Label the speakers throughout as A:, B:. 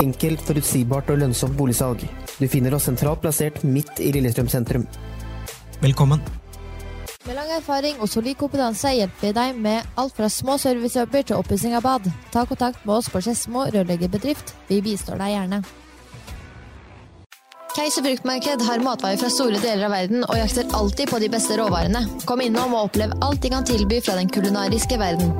A: Enkelt, forutsigbart og lønnsomt boligsalg. Du finner oss sentralt plassert midt i Lillestrøm sentrum.
B: Velkommen.
C: Med lang erfaring og solid kompetanse hjelper vi deg med alt fra små servicejobber til oppussing av bad. Ta kontakt med oss på Skedsmo rørleggerbedrift. Vi bistår deg gjerne. Keiser fruktmarked har matvarer fra store deler av verden og jakter alltid på de beste råvarene. Kom innom og opplev alt de kan tilby fra den kulinariske verden.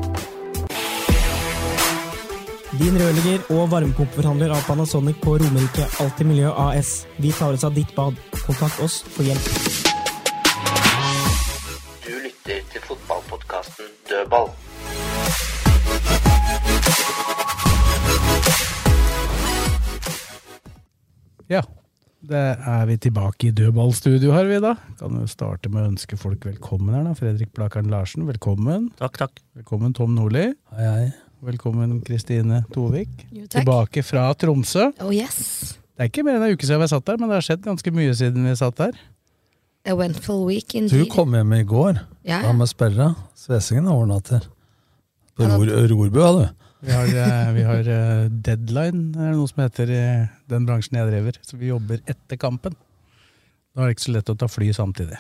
B: Din rørlegger og varmepumpeforhandler av Panasonic på Romerike Alltid Miljø AS. Vi tar oss av ditt bad. Kontakt oss for hjelp.
D: Du lytter til fotballpodkasten Dødball.
E: Ja. Det er vi tilbake i dødballstudio her, vi da. Kan jo starte med å ønske folk velkommen her, da. Fredrik Blakeren Larsen, velkommen.
D: Takk, takk.
E: Velkommen Tom Nordli.
F: Hei, hei.
E: Velkommen Kristine Tovik.
C: Jo,
E: Tilbake fra Tromsø.
G: Oh yes.
E: Det er ikke mer enn ei uke siden vi satt der, men det har skjedd ganske mye siden vi satt der.
G: A wentful week
F: Du
G: indeed.
F: kom hjem i går.
G: Ja.
F: Ja, med sperra. Svesingen overnatter. På Ror, Rorbø, ja, du.
E: Vi har, eh, vi har eh, deadline, er det noe som heter i den bransjen jeg driver. Så vi jobber etter kampen. Da er det ikke så lett å ta fly samtidig.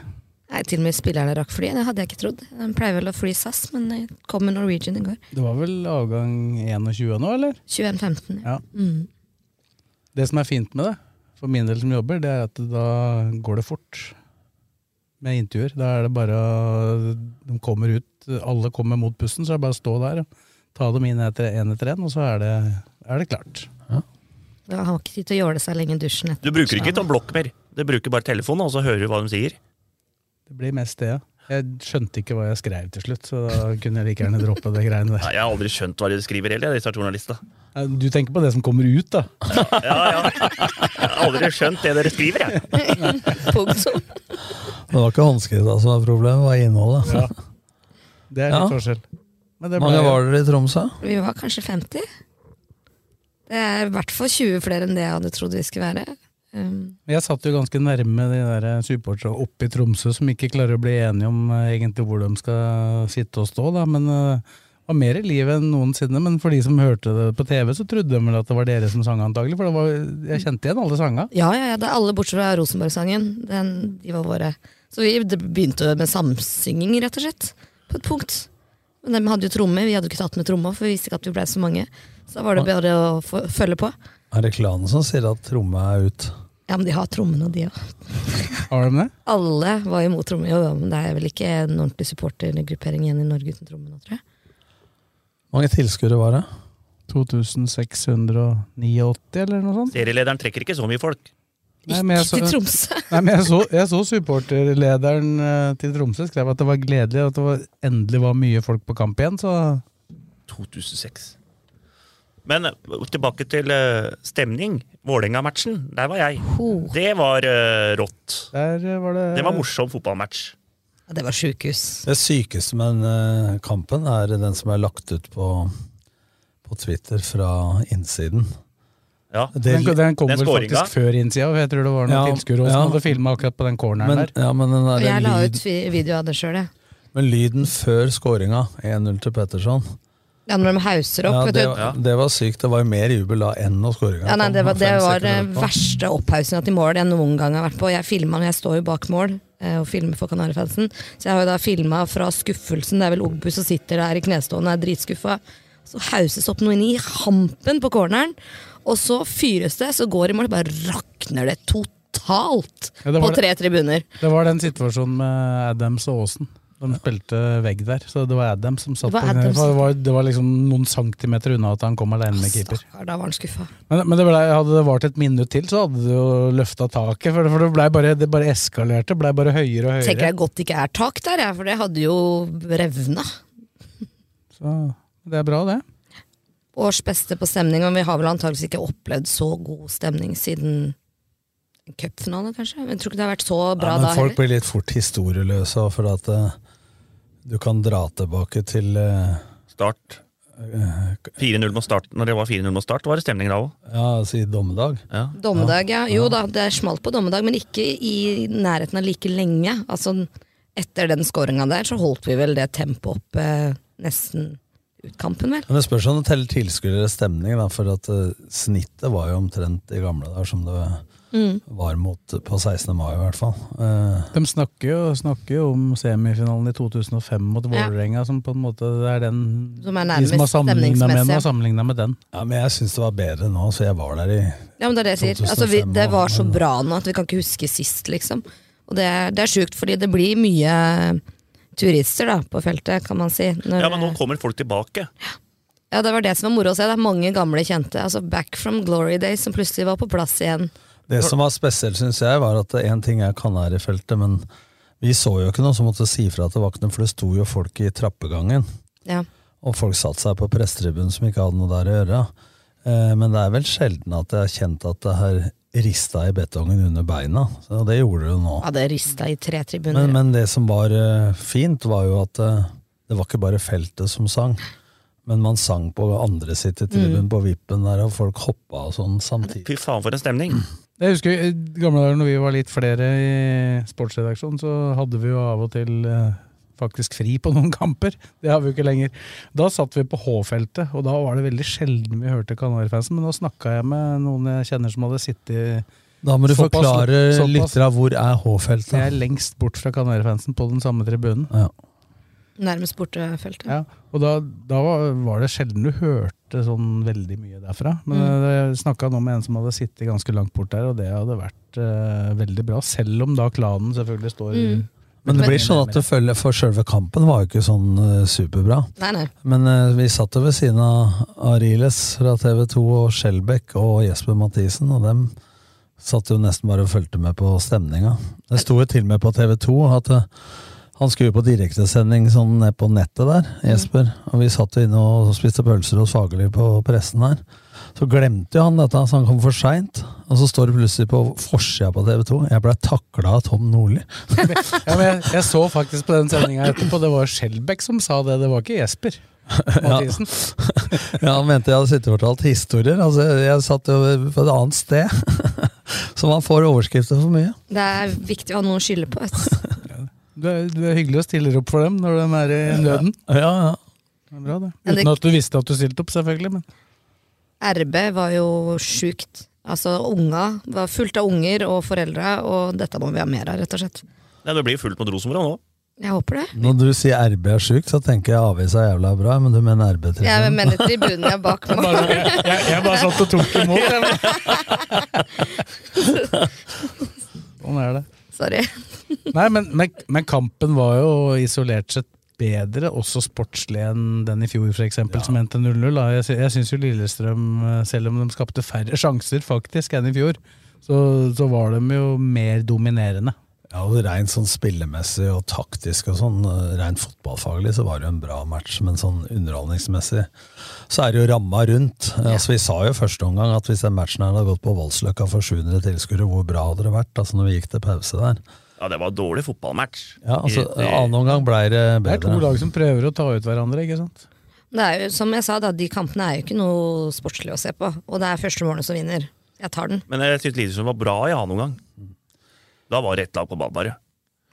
G: Nei, til og med spillerne rakk flyet. Det hadde jeg ikke trodd. De pleier vel å fly SAS, men jeg kom med Norwegian i går.
E: Det var vel avgang 21 nå, eller?
G: 21.15.
E: Ja.
G: Mm.
E: Det som er fint med det, for min del som jobber, det er at da går det fort med intervjuer. Da er det bare å- De kommer ut, alle kommer mot bussen, så er det bare å stå der og ta dem inn etter en etter en, og så er det, er det klart.
G: Jeg har ikke tid til å jåle seg lenge i dusjen. etter.
D: Du bruker ikke tablokk mer. Du bruker bare telefonen, og så hører du hva de sier.
E: Det blir mest det, ja. Jeg skjønte ikke hva jeg skrev til slutt, så da kunne jeg like gjerne droppe det greiene der.
D: Nei, jeg har aldri skjønt hva de skriver heller, jeg, disse journalistene.
E: Du tenker på det som kommer ut, da.
D: Ja, ja. Jeg har aldri skjønt det dere skriver, jeg.
G: Punktum.
F: Det var ikke håndskrivet som var problemet, det var innholdet.
E: Ja. Det er
F: Ja.
E: litt forskjell. Men det
F: Mange
E: ble-
F: var dere i Tromsø?
G: Vi var kanskje 50. Det er i hvert fall 20 flere enn det jeg hadde trodd vi skulle være. Um,
E: Jeg satt jo ganske nærme de der supporterne oppe i Tromsø som ikke klarer å bli enige om eh, egentlig hvor de skal sitte og stå, da. Men eh, det var mer i liv enn noensinne. Men for de som hørte det på TV, så trodde de vel at det var dere som sang antagelig. For det var, jeg kjente igjen alle sanga.
G: Ja, ja, ja, det er alle bortsett fra Rosenborg-sangen. Den- De var våre. Så vi det begynte med samsynging, rett og slett. På et punkt. Men de hadde jo tromme, vi hadde jo ikke tatt med tromma, for vi visste ikke at vi blei så mange. Så da var det bare å få- følge på.
F: Er det klanen som sier at tromme er ut?
G: Ja, men de har trommene, og de òg.
E: Har de det?
G: Alle var imot tromme. Jo, jo, men det er vel ikke en ordentlig supportergruppering igjen i Norge uten tromme nå, tror jeg.
F: Mange tilskuere var det?
E: 2689, eller noe sånt?
D: Serielederen trekker ikke så mye folk.
E: Nei, men jeg
G: Ikke til
E: så-
G: Tromsø!
E: Nei, men jeg så, jeg så supporterlederen eh, til Tromsø skrev at det var gledelig at det var, endelig var mye folk på kamp igjen, så
D: 2006. Men eh, tilbake til eh, stemning. Vålerenga-matchen, der var jeg.
G: Ho.
D: Det var eh, rått.
E: der eh, var det
D: Det var morsom fotballmatch.
G: Ja, det var sjukehus.
F: Det sykeste med den eh, kampen er den som er lagt ut på, på Twitter fra innsiden.
D: Ja.
F: Det,
E: Den, den kom
D: Den
E: vel
D: scoringa.
E: faktisk før innsida, for jeg tror det var noen
F: Ja,
E: tilskuere også
F: ja.
E: som hadde filma akkurat på den corneren
F: men,
E: der.
F: ja, men, den
G: Og jeg
F: der
G: la ut
F: lyd,
G: vi- video av det sjøl, jeg.
F: men lyden før skåringa, 1-0 til Petterson,
G: Ja, når de hauser opp.
F: ja,
G: vet
F: det,
G: du.
D: Ja.
F: det var sykt. Det var jo mer jubel da enn når skåringa
G: Ja, nei, det var, det
F: fem
G: var
F: sekunder
G: eh,
F: etterpå.
G: verste opphaussinga til mål jeg noen gang har vært på. Jeg filma når jeg står jo bak mål eh, og filmer for Kanarifansen. Så jeg har jo da filma fra skuffelsen. Det er vel Ogbu som sitter der i knestående og er dritskuffa. Så hauses opp noe inn i hampen på corneren, og så fyres det, så går det i mål. Bare rakner det totalt
E: Ja, det var
G: på tre tribuner.
E: Det var den situasjonen med Adams og Aasen. De spilte vegg der, så det var Adams som satt
G: Det var
E: på
G: Adams.
E: det, var, det var liksom noen centimeter unna at han kom alene med keeper.
G: Stakkar, da var han skuffa.
E: Men, men det ble, hadde det vart et minutt til, så hadde det jo løfta taket. For det, for det, ble bare, det bare eskalerte. Blei bare høyere og
G: Tenker
E: høyere.
G: jeg godt det ikke er tak der, jeg, for det hadde jo revna.
E: Så det er bra, det.
G: årsbeste på stemning, men vi har vel antageligvis ikke opplevd så god stemning siden cupfinalen, kanskje. Jeg tror ikke det har vært så bra
F: Ja, men
G: da
F: folk
G: heller.
F: blir litt fort historieløse, og for at eh, du kan dra tilbake til eh,
D: Start. 4-0 mot start. Når det var 4-0 mot start, var det stemning da òg.
F: ja, altså i dommedag.
G: Dommedag, ja. Jo da, det smalt på dommedag, men ikke i nærheten av like lenge. Altså, etter den skåringa der, så holdt vi vel det tempoet oppe eh, nesten ut kampen, vel.
F: Men det spørs om du teller tilskuere eller stemning, da, for at eh, snittet var jo omtrent i gamle dager som det
G: Mm.
F: var mot på 16. mai, i hvert fall. Eh,
E: De snakker jo, snakker jo om semifinalen i 2005 mot Vålerenga, som på en måte det er den
G: Som er
E: de som har
G: nærmest
E: sammenlignet med, den,
G: stemningsmessig.
E: har sammenlignet med den.
F: ja, men jeg syns det var bedre nå, så jeg var der i
G: Ja, men det er det jeg sier. Altså, vi,
F: 2005
G: det var så
F: også, men-
G: bra nå at vi kan ikke huske sist, liksom. Og det er, det er sjukt, fordi det blir mye eh, turister da, på feltet, kan man si. Når,
D: Ja, men nå kommer folk tilbake.
G: Ja, det var det som var moro å se. Det er mange gamle kjente. Altså Back from glory days som plutselig var på plass igjen.
F: Det som var spesielt, syns jeg, var at én ting er Kanarifeltet, men vi så jo ikke noen som måtte si fra til vaktene, for det sto jo folk i trappegangen.
G: Ja.
F: Og folk satte seg på prestetribunen som ikke hadde noe der å gjøre. Eh, Men det er vel sjelden at jeg har kjent at det har rista i betongen under beina. Og det gjorde det jo nå.
G: Ja, det rista i tre tribuner.
F: Men, men det som var eh, fint, var jo at eh, det var ikke bare feltet som sang. Men man sang på andre sitt i tribunen, på vippen der, og folk hoppa og sånn samtidig.
D: Fy faen, for en stemning.
E: Jeg husker i gamle dager når vi var litt flere i sportsredaksjonen, så hadde vi jo av og til eh, faktisk fri på noen kamper. Det har vi jo ikke lenger. Da satt vi på H-feltet, og da var det veldig sjelden vi hørte Kanarifansen. Men da snakka jeg med noen jeg kjenner som hadde sittet
F: Da må du
E: Såpass-
F: forklare
E: såpass.
F: lytterne hvor er H-feltet.
E: Jeg er lengst bort fra Kanarifansen på den samme tribunen.
F: Ja.
G: Nærmest borte feltet.
E: Ja, og da, da var, var det sjelden du hørte sånn veldig mye derfra. Men eh, jeg snakka nå med en som hadde sittet ganske langt bort der, og det hadde vært eh, veldig bra. Selv om da klanen selvfølgelig står
G: Mm.
F: Men det blir sånn at det følger, for selve kampen var jo ikke sånn eh, superbra.
G: Nei, nei.
F: Men eh, vi satt jo ved siden av Ariles fra TV 2 og Skjelbæk og Jesper Mathisen, og dem satt jo nesten bare og fulgte med på stemninga. Det sto jo til og med på TV 2 at eh, han skulle jo på direktesending sånn ned på nettet der, Jesper. Og vi satt jo inne og spiste pølser hos Fagerli på pressen her. Så glemte jo han dette, så han kom for seint. Og så står det plutselig på forsida på TV 2 jeg blei takla av Tom Nordli.
E: Ja, men jeg, jeg så faktisk på den sendinga etterpå, det var Skjelbæk som sa det, det var ikke Jesper. Mathisen.
F: Ja, Han mente jeg hadde sittet og fortalt historier. Altså, jeg satt jo på et annet sted. Så man får overskrifter for mye.
G: Det er viktig å ha noe å skylde på. ass.
E: Du, er, du er hyggelig og stiller opp for dem når de er i nøden.
F: Ja, ja.
E: Det er bra, det.
G: Men det-
E: Uten at du visste at du stilte opp, selvfølgelig. Men
G: RB var jo sjukt. Altså, unga var fullt av unger og foreldre, og dette må vi ha mer av, rett og slett.
D: Nei, det blir jo fullt mot Rosenborg nå.
G: Jeg håper det.
F: Når du sier RB er sjukt, så tenker jeg avisa er jævla bra, men du mener RB
G: Jeg
F: trener.
G: mener tribunen jeg er bak meg.
E: jeg, jeg bare satt og tok imot. jeg, men- Sånn er det.
G: Sorry.
E: Nei, men, men, men kampen var jo isolert sett bedre, også sportslig enn den i fjor, for eksempel, som endte 0-0. da. Jeg, sy- jeg syns jo Lillestrøm, eh, selv om de skapte færre sjanser faktisk enn i fjor, så, så var de jo mer dominerende.
F: Ja, og Rent sånn spillemessig og taktisk og sånn, eh, rent fotballfaglig så var det jo en bra match, men sånn underholdningsmessig så er det jo ramma rundt. Eh, Altså, vi sa jo første omgang at hvis den matchen her hadde gått på Voldsløkka for 700 tilskuere, hvor bra hadde det vært? Altså når vi gikk til pause der.
D: Ja, det var en dårlig fotballmatch.
F: Ja, altså,
D: I- i-
F: Annen omgang blei det bedre.
E: Det er to lag som prøver å ta ut hverandre, ikke sant?
G: Det er jo, som jeg sa, da, de kampene er jo ikke noe sportslig å se på. Og det er første målet som vinner. Jeg tar den.
D: Men jeg syns Lillestrøm var bra i annen omgang. Da var det ett lag på banen, bare.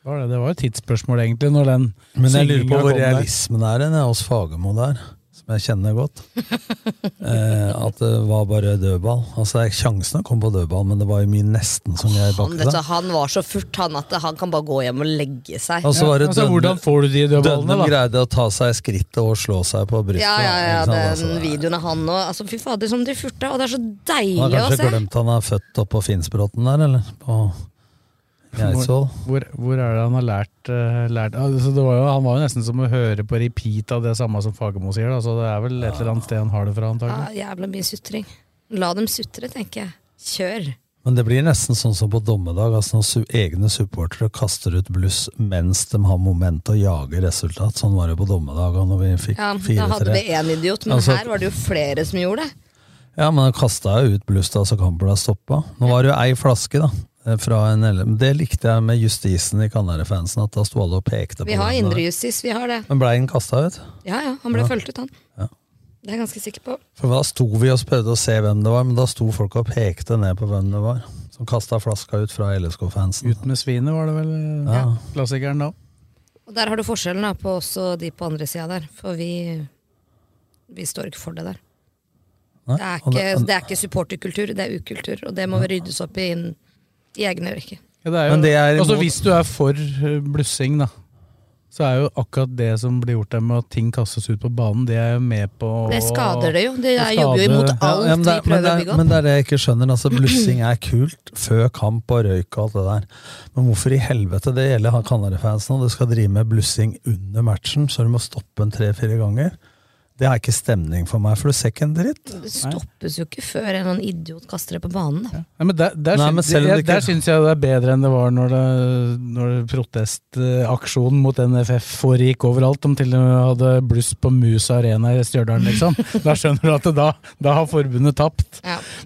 E: Var det, det var et tidsspørsmål, egentlig, når den
F: Men jeg lurer på
E: syngingen
F: hvor
E: kom der.
F: realismen er den, hos Fagermo der, som jeg kjenner godt. Eh, at det var bare dødball. Altså, det er Sjansene kom på dødball, men det var jo mye nesten som jeg
G: Han, vet
F: bakte
G: du,
F: der.
G: han var så furt, han, at han kan bare gå hjem og legge seg.
F: Og så var det
E: altså,
F: Dønne-
E: hvordan får du de
F: Dønnem
E: dødballene, da?
F: greide å ta seg i skrittet og slå seg på brystet.
G: Ja, ja, ja,
F: ikke sant? Altså,
G: den
F: det-
G: videoen av han og altså, Fy fader, som de furta! Og det er så deilig
F: Han har
G: å se!
F: kanskje glemt han er født oppå Finnsbråten der, eller? På Geitsvoll.
E: Hvor, hvor er det han har lært, eh, lært altså, det var jo, Han var jo nesten som å høre på repeat av det samme som Fagermo sier, da, så det er vel et
F: Mhm.
E: eller annet sted han har det fra,
G: Ja,
E: antagelig.
G: jævla mye sutring. La dem sutre, tenker jeg. Kjør.
F: Men det blir nesten sånn som på dommedag, altså når su egne supportere kaster ut bluss mens de har moment og jager resultat. Sånn var det på dommedag og når vi fikk
G: Ja, da
F: 4-3.
G: hadde vi én idiot, men
F: Altså-
G: her var det jo flere som gjorde det.
F: Ja, men da kasta jeg ut bluss da, så kampen ble stoppa. Nå var det jo ei flaske, da. eh, Fra en ele- men Det likte jeg med justisen i Kanarifansen, at da sto alle og pekte på
G: Vi har
F: den.
G: indrejustis, vi har det.
F: Men blei den kasta ut?
G: Ja, ja, han ble
F: Ja.
G: fulgt ut, han. Det er jeg ganske sikker på.
F: For da sto vi og prøvde å se hvem det var, men da sto folk og pekte ned på hvem det var. Som kasta flaska ut fra LSK-fansen.
E: Ut med svinet, var det vel eh,
F: Ja.
E: klassikeren da.
G: Og der har du forskjellen da, på oss og de på andre sida der, for vi, vi står ikke for det der.
F: Nei,
G: Det er
F: og
G: ikke, det er ikke supporterkultur, det er ukultur, og det må vi ryddes opp i inn, i egne rekker.
E: Ja, det er jo,
F: Men det er
E: altså
F: imot-
E: Hvis du er for eh, blussing, da, så er jo akkurat det som blir gjort der med at ting kastes ut på banen, det er jo med på å-
G: Det skader det jo. Det er-
E: skader-
G: jobber jo imot alt
F: Ja, men det,
G: vi prøver
F: men det,
G: å bygge opp.
F: Men det er det jeg ikke skjønner. altså Blussing er kult før kamp og røyk og alt det der. Men hvorfor i helvete det gjelder han Canary-fansen, og du skal drive med blussing under matchen, så du må stoppe en tre-fire ganger? Det er ikke stemning for meg, for du ser ikke en dritt.
G: Det stoppes jo ikke før en eller annen idiot kaster det på banen. Da.
E: Nei, men der, der,
F: Nei, men
E: syns,
F: selv om
E: jeg,
F: det ikke-
E: der syns jeg det er bedre enn det var når, det, når protestaksjonen mot NFF foregikk overalt. De til og med hadde bluss på Mus Arena i Stjørdal, liksom. Da skjønner du at det da, da har forbundet tapt.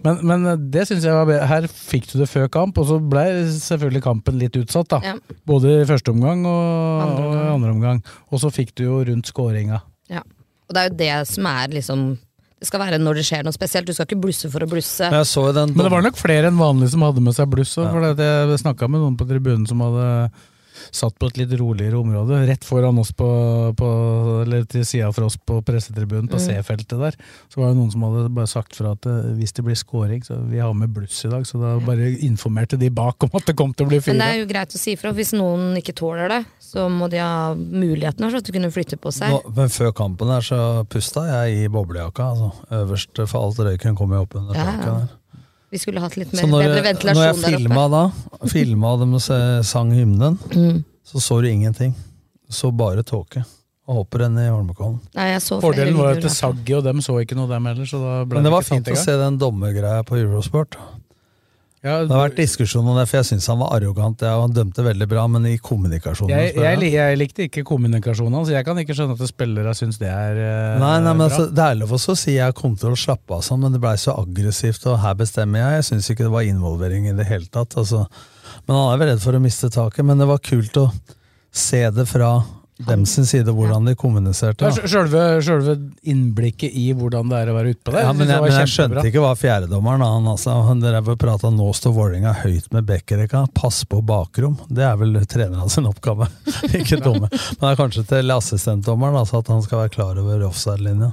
E: Men, men det syns jeg var bedre. Her fikk du det før kamp, og så ble selvfølgelig kampen litt utsatt, da.
G: Ja.
E: Både i første omgang og andre omgang. Og, andre omgang. og så fikk du jo rundt skåringa.
G: Ja. Og det er jo det som er liksom Det skal være når det skjer noe spesielt. Du skal ikke blusse for å blusse.
F: Men jeg så jo den
E: Men det var nok flere enn vanlig som hadde med seg bluss. også, For det, at jeg snakka med noen på tribunen som hadde satt på et litt roligere område, rett foran oss på, på eller til sida for oss på pressetribunen, på
F: Mm.
E: C-feltet der. Så var det noen som hadde bare sagt fra at eh, hvis det blir scoring, så vi har med bluss i dag. Så da bare informerte de bak om at det kom til å bli
G: Men det er
E: fire.
G: jo greit å si ifra. Hvis noen ikke tåler det, så må de ha muligheten for at de kunne flytte på seg.
F: Nå, men før kampen der så pusta jeg i boblejakka. altså Øverst, for alt røyken kom jo opp under
G: Ja, ja.
F: taket. der.
G: Vi skulle hatt litt
F: Så
G: mer,
F: når
G: bedre
F: jeg, når jeg
G: ventilasjon der
F: filma
G: oppe.
F: da, filma og de se- sang hymnen,
G: Mm.
F: så så du ingenting. Du så bare tåke. Og hopprenn i Holmenkollen.
G: Nei, jeg så flere
E: Fordelen var jo at
G: videoer
E: det Saggi og dem så ikke noe, dem heller. Så da ble
F: Men det var
E: ikke tatt
F: fint å
E: i gang.
F: se den dommergreia på Eurosport.
E: Ja,
F: Det har vært diskusjon om det, for jeg syns han var arrogant. Ja, og han dømte veldig bra, men i kommunikasjonen
E: Jeg,
F: spør
E: jeg,
F: jeg.
E: li- jeg likte ikke kommunikasjonen hans. Jeg kan ikke skjønne at spillere syns det er eh,
F: Nei, nei, men
E: bra.
F: altså, Det er lov også å si jeg kom til å slappe av sånn, men det blei så aggressivt, og her bestemmer jeg. Jeg syns ikke det var involvering i det hele tatt. Altså. Men han er vel redd for å miste taket, men det var kult å se det fra dem sin side, hvordan de kommuniserte.
E: Ja.
F: da.
E: Sjølve, sjølve innblikket i hvordan det er å være ute på det.
F: Ja, men
E: det
F: jeg, men jeg skjønte ikke hva fjerdedommeren han, altså, han drev og prata 'nå står Vålerenga høyt med Bekkerekka, pass på bakrom'. Det er vel treneren sin oppgave, ikke dommer. Men det er kanskje til assistentdommeren altså, at han skal være klar over offside-linja.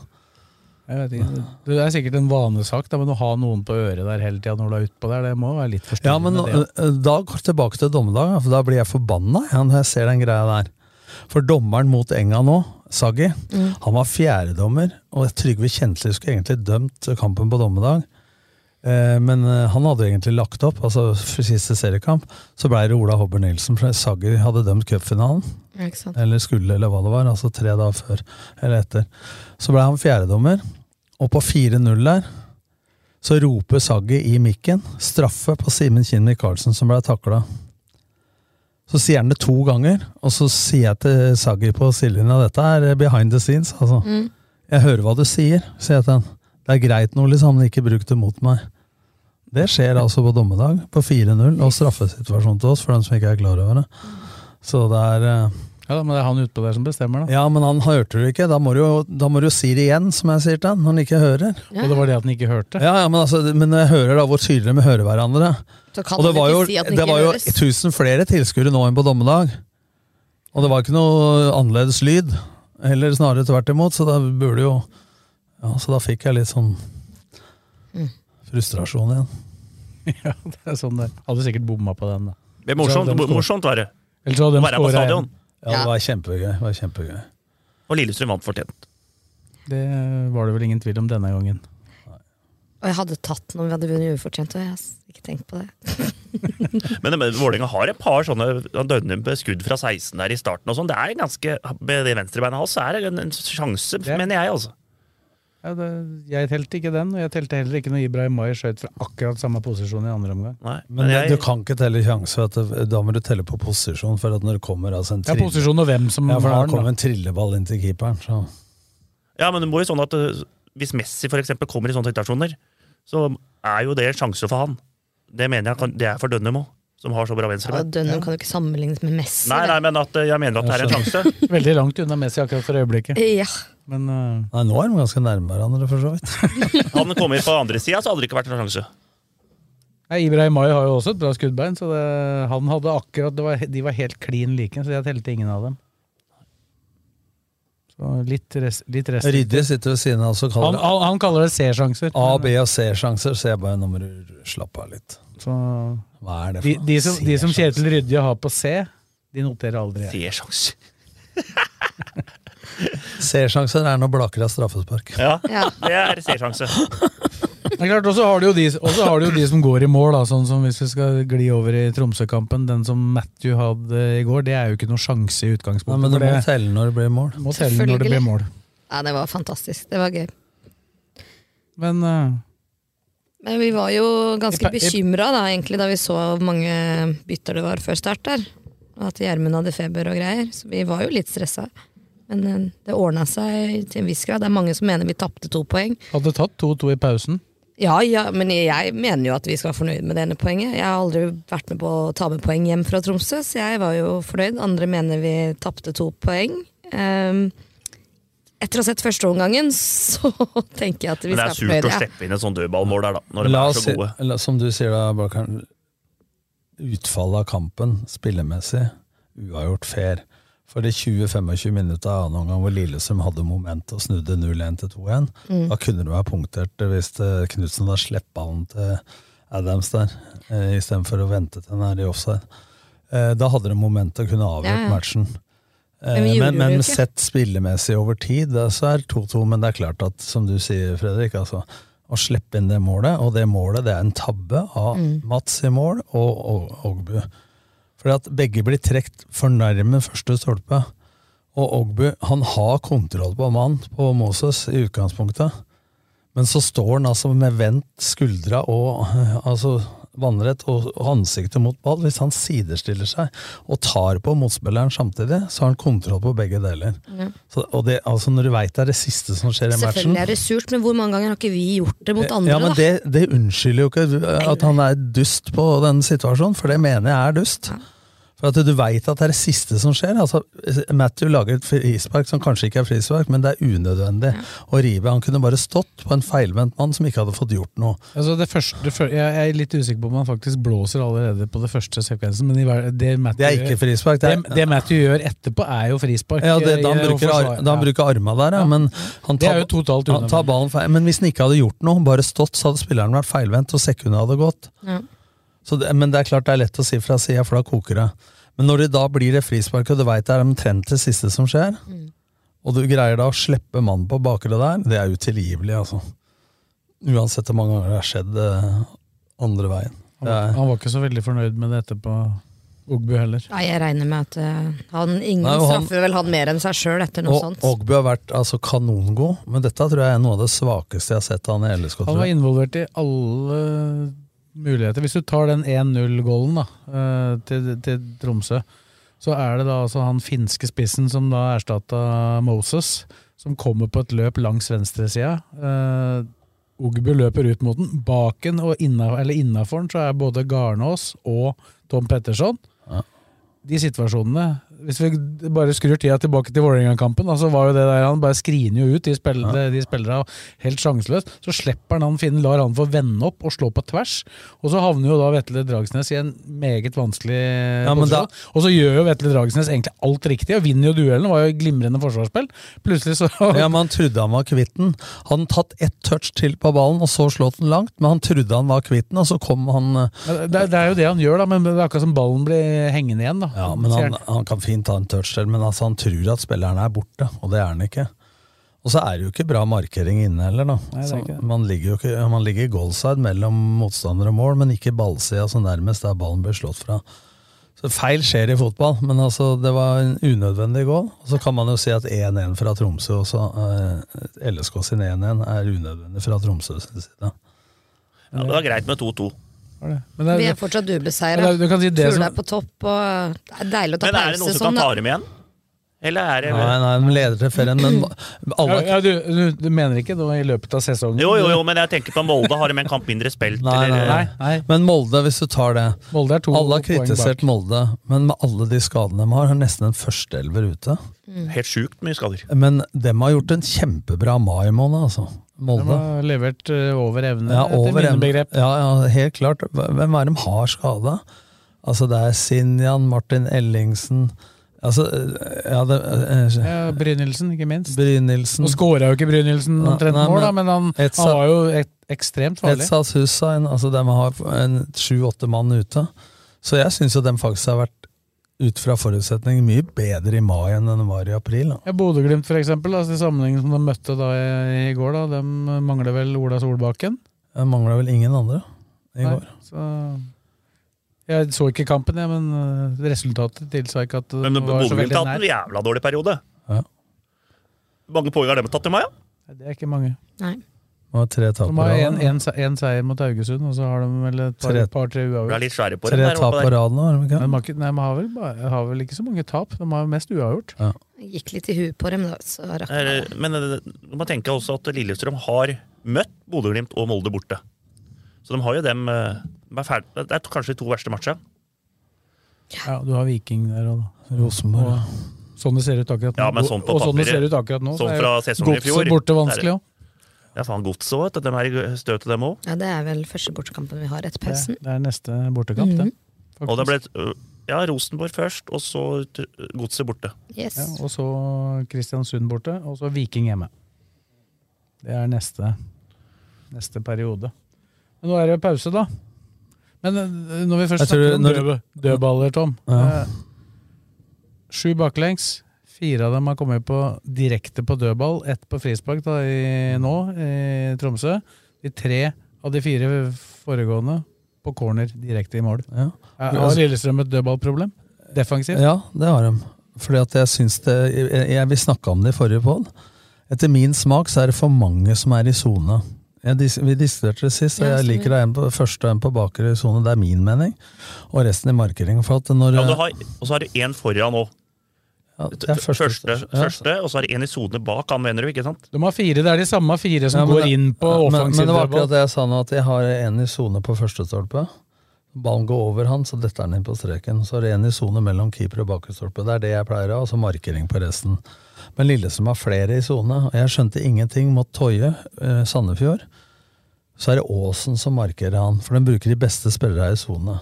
E: Jeg vet ikke. Det er sikkert en vanesak, da, men å ha noen på øret der hele tida når du er utpå der, det må være litt
F: Ja,
E: forstyrrende.
F: men nå-
E: det.
F: ø, ø, da går jeg tilbake til dommedag, da, for da blir jeg forbanna ja, når jeg ser den greia der. For dommeren mot Enga nå, Saggi,
E: Mm.
F: han var fjerdedommer, og Trygve Kjensli skulle egentlig dømt kampen på dommedag. Eh, Men eh, han hadde jo egentlig lagt opp, altså for siste seriekamp. Så ble det Ola Hobber Nilsen, for Saggi hadde dømt cupfinalen.
G: Ja, ikke sant?
F: Eller skulle, eller hva det var. Altså tre dager før eller etter. Så ble han fjerdedommer, og på 4-0 der så roper Saggi i mikken straffe på Simen Kinn Michaelsen, som ble takla. Så sier han det to ganger, og så sier jeg til Saggi på sidelinja dette er behind the scenes. altså.
H: Mm.
F: Jeg hører hva du sier, sier jeg til han. Det er greit, Nordli, sa han, men ikke bruk det mot meg. Det skjer altså på dommedag, på 4-0, og straffesituasjon til oss, for dem som ikke er klar over det. Så det er eh,
E: Ja, da, men det er han utpå der som bestemmer, da.
F: ja, men han hørte det ikke. Da må du jo, da må du jo si det igjen, som jeg sier til han, når han ikke hører.
E: Og det var det at han ikke hørte.
F: Ja, ja, men, altså, men når jeg hører da hvor tydelig vi hører hverandre
G: Så kan
F: Og det
G: man
F: var
G: ikke
F: jo,
G: si at den
F: det
G: ikke
F: var jo
G: høres.
F: 1000 flere tilskuere nå enn på dommedag. Og det var ikke noe annerledes lyd. Heller snarere tvert imot, så da burde jo Ja, så da fikk jeg litt sånn
G: Mm.
F: frustrasjon igjen.
E: Ja, det er sånn det er. Hadde sikkert bomma på den, da.
D: Det er morsomt, morsomt var det.
E: Eller så
D: Å
E: hadde de
D: være på
E: skåra igjen.
D: stadion.
F: Ja, det var kjempegøy. Det var kjempegøy.
D: Og Lillestrøm vant fortjent.
E: Det var det vel ingen tvil om denne gangen.
G: Og jeg hadde tatt den om vi hadde vunnet ufortjent, og jeg har ikke tenkt på det.
D: Men, men Vålerenga har et par sånne han dønner med skudd fra 16 der i starten. og sånn. Det er ganske, Med det venstrebeinet hans så er det en, en sjanse, mener jeg. altså.
E: Ja, det, jeg telte ikke den, og jeg telte heller ikke når Ibrahim Mai skjøt fra akkurat samme posisjon i andre omgang.
F: Men du kan ikke telle sjanse. vet du. Da må du telle på posisjon. For at når det kommer altså en
E: Ja, posisjon og hvem som
F: ja, for
E: har
F: da
E: den,
F: kommer
E: da.
F: en trilleball inn til keeperen. Så.
D: Ja, men det må jo sånn at eh, hvis Messi for eksempel kommer i sånne situasjoner, så er jo det sjanser for han. Det mener jeg kan, det er for Dønnum òg, som har så bra
G: Ja,
D: venstrebein.
G: Dønnum kan jo ikke sammenlignes med Messi.
D: Nei, nei, men at eh, jeg mener at det er en sjanse.
E: Veldig langt unna Messi akkurat for øyeblikket.
G: Ja.
E: Men eh,
F: Nei, nå er de ganske nærme hverandre, for så vidt.
D: Hadde han kommet på andre sida, så hadde det ikke vært en sjanse.
E: Nei, Ibrahim Mai har jo også et bra skuddbein, så det, han hadde akkurat det var, De var helt klin like, så jeg telte ingen av dem. Så litt, res, litt rest.
F: Ryddig sitter ved siden av oss og
E: Han,
F: kaller det
E: han, han kaller det C-sjanser.
F: A, B og C-sjanser, så jeg bare nå må du slappe av litt.
E: Så-
F: Hva er det for
E: eh, De,
F: noe?
E: de som, de som
F: C-sjanser.
E: Kjetil Rydje har på C, de noterer aldri.
D: C-sjanser.
F: C-sjanser er når Blaker har straffespark.
D: Ja, det er C-sjanse.
E: Det er klart, Og så har du jo de, og så har du jo de som går i mål, da, sånn som hvis vi skal gli over i Tromsø-kampen. Den som Matthew hadde i går, det er jo ikke noen sjanse i utgangspunktet.
F: Nei, men
E: for
F: det må
E: det
F: telle når det blir mål.
E: må telle når det blir mål.
G: Ja, det var fantastisk. Det var gøy.
E: Men eh,
G: Men vi var jo ganske
E: Jeg pe- jeg-
G: bekymra da, egentlig, da vi så hvor mange bytter det var før start der. Og at Gjermund hadde feber og greier. Så vi var jo litt stressa. Men eh, det ordna seg til en viss grad. Det er mange som mener vi tapte to poeng.
E: hadde tatt 2-2 i pausen.
G: Ja, ja, men jeg mener jo at vi skal være fornøyd med det ene poenget. Jeg har aldri vært med på å ta med poeng hjem fra Tromsø, så jeg var jo fornøyd. Andre mener vi tapte to poeng. Ehm, etter å ha sett førsteomgangen, så tenker jeg at vi
D: Men det er
G: skal være
D: surt
G: fornøyde.
D: å
G: ja.
D: slippe inn et sånt dødballmål der, da. Når de
F: La
D: er
F: oss
D: så
F: si,
D: gode.
F: la- som du sier da, Blakkaren, utfallet av kampen spillemessig, uavgjort fair. For de 20-25 minutter av annen omgang hvor Lillestrøm hadde moment og snudde 0-1 til 2-1,
H: Mm.
F: da kunne det være punktert hvis eh, Knutsen hadde sluppet ballen til Adams der, eh, istedenfor å vente til den er i offside. Eh, Da hadde de momentet og kunne avgjort
H: Ja, ja.
F: matchen. Eh,
H: Men vi gjorde
F: Men,
H: det jo
F: men
H: ikke.
F: sett spillemessig over tid, det- så er det 2-2. Men det er klart at, som du sier, Fredrik, altså, å slippe inn det målet, og det målet det er en tabbe av
H: Mm.
F: Mats i mål og og- Ogbu. Fordi at begge blir trukket for nærme første stolpe. Og Ogbu han har kontroll på mannen, på Moses, i utgangspunktet. Men så står han altså med vendt skuldra og eh, altså vannrett og og ansiktet mot ball. Hvis han sidestiller seg og tar på motspilleren samtidig, så har han kontroll på begge deler.
G: Ja.
F: Så, og det, altså Når du veit det er det siste som skjer i matchen
G: Selvfølgelig er det surt, men hvor mange ganger har ikke vi gjort det mot andre?
F: ja, men
G: da?
F: det, det unnskylder jo ikke at han er dust på den situasjonen, for det mener jeg er dust. For at du veit at det er det siste som skjer. Altså, Matthew lager et frispark som kanskje ikke er frispark, men det er unødvendig. Og Ribe han kunne bare stått på en feilvendt mann som ikke hadde fått gjort noe.
E: Altså det første, det fø- jeg jeg er litt usikker på om han faktisk blåser allerede på det første sekvensen. Men i hver- det, Matthew,
F: Det er ikke frispark, det er-
E: det, det Matthew gjør etterpå, er jo frispark. eh,
F: Ja, det, da han
E: Jeg- jeg-
F: bruker,
E: forsvar-
F: ar- da han
E: ja.
F: bruker arma der, ja. Men han
E: Det
F: tar,
E: er jo totalt
F: han tar
E: unødvendig.
F: ballen feil. Men hvis han ikke hadde gjort noe, bare stått, så hadde spilleren vært feilvendt, og sekundet hadde gått.
G: Ja.
F: Så det, men det er klart det er lett å si fra sida, for da koker det. Men når det da blir det frispark, og du veit det er omtrent det siste som skjer,
G: Mm.
F: og du greier da å slippe mannen på bakre der, det er utilgivelig, altså. Uansett hvor mange ganger det har skjedd eh, andre veien.
E: Han, var- han var ikke så veldig fornøyd med det etterpå, Ogbu heller.
G: Nei, jeg regner med at eh, han, ingen
F: Nei, og han-
G: straffer vel han mer enn seg sjøl etter noe
F: Og
G: sånt.
F: Ogbu har vært altså, kanongod, men dette tror jeg er noe av det svakeste jeg har sett han i LSK.
E: Han
F: tror
E: var
F: jeg.
E: involvert i alle muligheter. Hvis du tar den 1-0-gålen da, eh, til, til Tromsø, så er det da altså han finske spissen som da erstatta Moses, som kommer på et løp langs venstresida. Eh, Ogbu løper ut mot den. Baken og inna, eller innafor den så er både Garnås og Tom Petterson. De situasjonene Hvis vi bare skrur tida tilbake til Vålerenga-kampen, da, så var jo det der han bare skriner jo ut de, spill, de spillerne helt sjanseløst. Så slipper han han Finn, lar han få vende opp og slå på tvers. Og så havner jo da Vetle Dragsnes i en meget vanskelig
F: men da-
E: posisjon. Og så gjør jo Vetle Dragsnes egentlig alt riktig, og vinner jo duellen. Var jo et glimrende forsvarsspill. Plutselig så
F: Ja, men Han trodde han var kvitt den. Han hadde tatt ett touch til på ballen og så slått den langt, men han trodde han var kvitt den, og så kom han eh,
E: Men Det, det er jo det han gjør, da, men det er akkurat som ballen blir hengende igjen. da.
F: Ja, men
E: Ser
F: han, han kan fint ta en touch til, men altså, han tror at spilleren er borte, og det er han ikke. Og så er det jo ikke bra markering inne heller, da.
E: Nei, det er
F: så,
E: ikke det.
F: man ligger jo ikke, man ligger goalside mellom motstander og mål, men ikke ballsida, så nærmest der ballen blir slått fra. Så feil skjer i fotball, men altså, det var en unødvendig goal. Og så kan man jo si at 1-1 fra Tromsø også, eh, LSK sin 1-1 er unødvendig fra Tromsø sin side.
D: Ja, det var greit med 2-2.
G: Vi er fortsatt ubeseira.
F: Men det- du kan si det
G: Fugla
F: som-
G: er på topp, og det er deilig å ta
D: Men er det
G: pause
D: noen som kan
G: sånn.
D: ta
G: da.
D: dem igjen? Eller er det
F: Nei, nei, de leder til ferien, men alle
E: ja, ja, du, du, du mener ikke da i løpet av sesongen?
D: Jo, jo, jo, men jeg tenker på Molde. Har de en kamp mindre spilt?
F: Nei, nei,
D: eller-
F: nei. Men Molde, hvis du tar det Alle har
D: poeng
F: kritisert
D: bak.
F: Molde, men med alle de skadene de har, er nesten en førsteelver ute.
D: Mm. Helt sjukt mye skader.
F: Men dem har gjort en kjempebra mai måned, altså.
E: De
F: Molde.
E: har levert eh, over evne,
F: Ja, over
E: etter
F: en,
E: mine begrep.
F: ja, ja, helt klart. Hvem er det de har skada? Altså, det er Sinjan, Martin Ellingsen Altså, ja, det, eh,
E: Ja, Brynildsen, ikke minst.
F: Brynildsen.
E: Nå skåra jo ikke Brynildsen omtrent
F: Nei, nei,
E: mål, da, men han,
F: Etsa-
E: han var jo ek ekstremt farlig.
F: Etsas Hussein, altså de har en sju-åtte mann ute. Så jeg syns jo de faktisk har vært, ut fra forutsetninger, mye bedre i mai enn de var i april. Da.
E: Ja, Bodø-Glimt, for eksempel, altså, i sammenhengen som de møtte da i, i går, da, de mangler vel Ola Solbakken.
F: Jeg mangla vel ingen andre i
E: Nei,
F: går.
E: Så jeg så ikke kampen, jeg, men øh, resultatet tilsa ikke at det
D: Men
E: var så
D: Bodø-Glimt
E: veldig
D: har hatt en
E: nær.
D: jævla dårlig periode.
F: Ja.
D: Mange poeng har de tatt i mai? Ja?
E: Det er ikke mange.
F: Det var tre
E: De
F: tap på
E: har
F: rad.
E: en,
F: da.
E: en, se- en seier mot Haugesund, og så har de vel et par-
F: Tre-
E: par-tre
D: Du er
E: uavgjort.
D: litt svære på den
F: Tre
D: der
F: tap
D: oppe
F: på
D: der.
F: raden, var det ikke?
E: Men de har ikke- nei, de har, vel, bare- har vel ikke så mange tap, de har mest uavgjort.
G: Gikk litt i huet på dem, da. Så rakk
D: Eh, Men eh, man tenker også at Lillestrøm har møtt Bodø-Glimt og Molde borte. Så de har jo dem eh, de er ferdig. Det er kanskje de to verste matchene.
E: Ja, du har Viking der og
F: Rosenborg.
E: Og Sånn det ser ut akkurat nå.
D: Ja, men sånn på
E: og sånn det
D: papiret.
E: ser ut akkurat nå. så
D: Sånn
E: er
D: fra sesongen i fjor.
E: Godset borte vanskelig òg.
D: Det er faen godset òg, vet du. De er i støtet, dem òg.
G: Ja, det er vel første bortekampen vi har etter pausen.
E: Det er neste bortekamp,
F: Mhm.
E: det.
D: Og det ble eh, ja, Rosenborg først, og så eh, godset borte.
G: Yes.
E: Ja, og så Kristiansund borte, og så Viking hjemme. Det er neste, neste periode. Men nå er det pause, da. Men eh, når vi først
F: Jeg tror
E: snakker om
F: når-
E: dødb- dødballer, Tom
F: Ja.
E: eh, Sju baklengs. Fire av dem har kommet på direkte på dødball. Ett på frispark da, i, nå i Tromsø. De tre av de fire foregående på corner direkte i mål.
F: Ja.
E: Er- Har Lillestrøm et dødballproblem? Defensivt?
F: Ja, det har de. Fordi at jeg syns det jeg, jeg, Vi snakka om det i forrige poll. Etter min smak så er det for mange som er i sone. Jeg dis- Vi diskuterte det sist, og
E: Ja,
F: jeg
E: stemmer.
F: liker det en på første og en på bakre sone. Det er min mening. Og resten i markering. For at når
D: Ja, du har, og så har du én foran òg.
F: det er første-
D: første, første, og så er det én i sone bak, han mener du, ikke sant?
E: De har fire, det er de samme fire som
F: Ja, men
E: går
F: det-
E: inn på
F: ja, men,
E: offensiv
F: men det var
E: dødball.
F: akkurat det jeg sa nå, at jeg har en i sone på første stolpe. Ballen går over han, så detter han inn på streken. Så er det en i sone mellom keeper og bakre stolpe. Det er det jeg pleier å ha, og så markering på resten. Men Lillestrøm har flere i sone, og jeg skjønte ingenting mot Toje, eh, Sandefjord. Så er det Aasen som markerer han, for den bruker de beste spillerne i sone.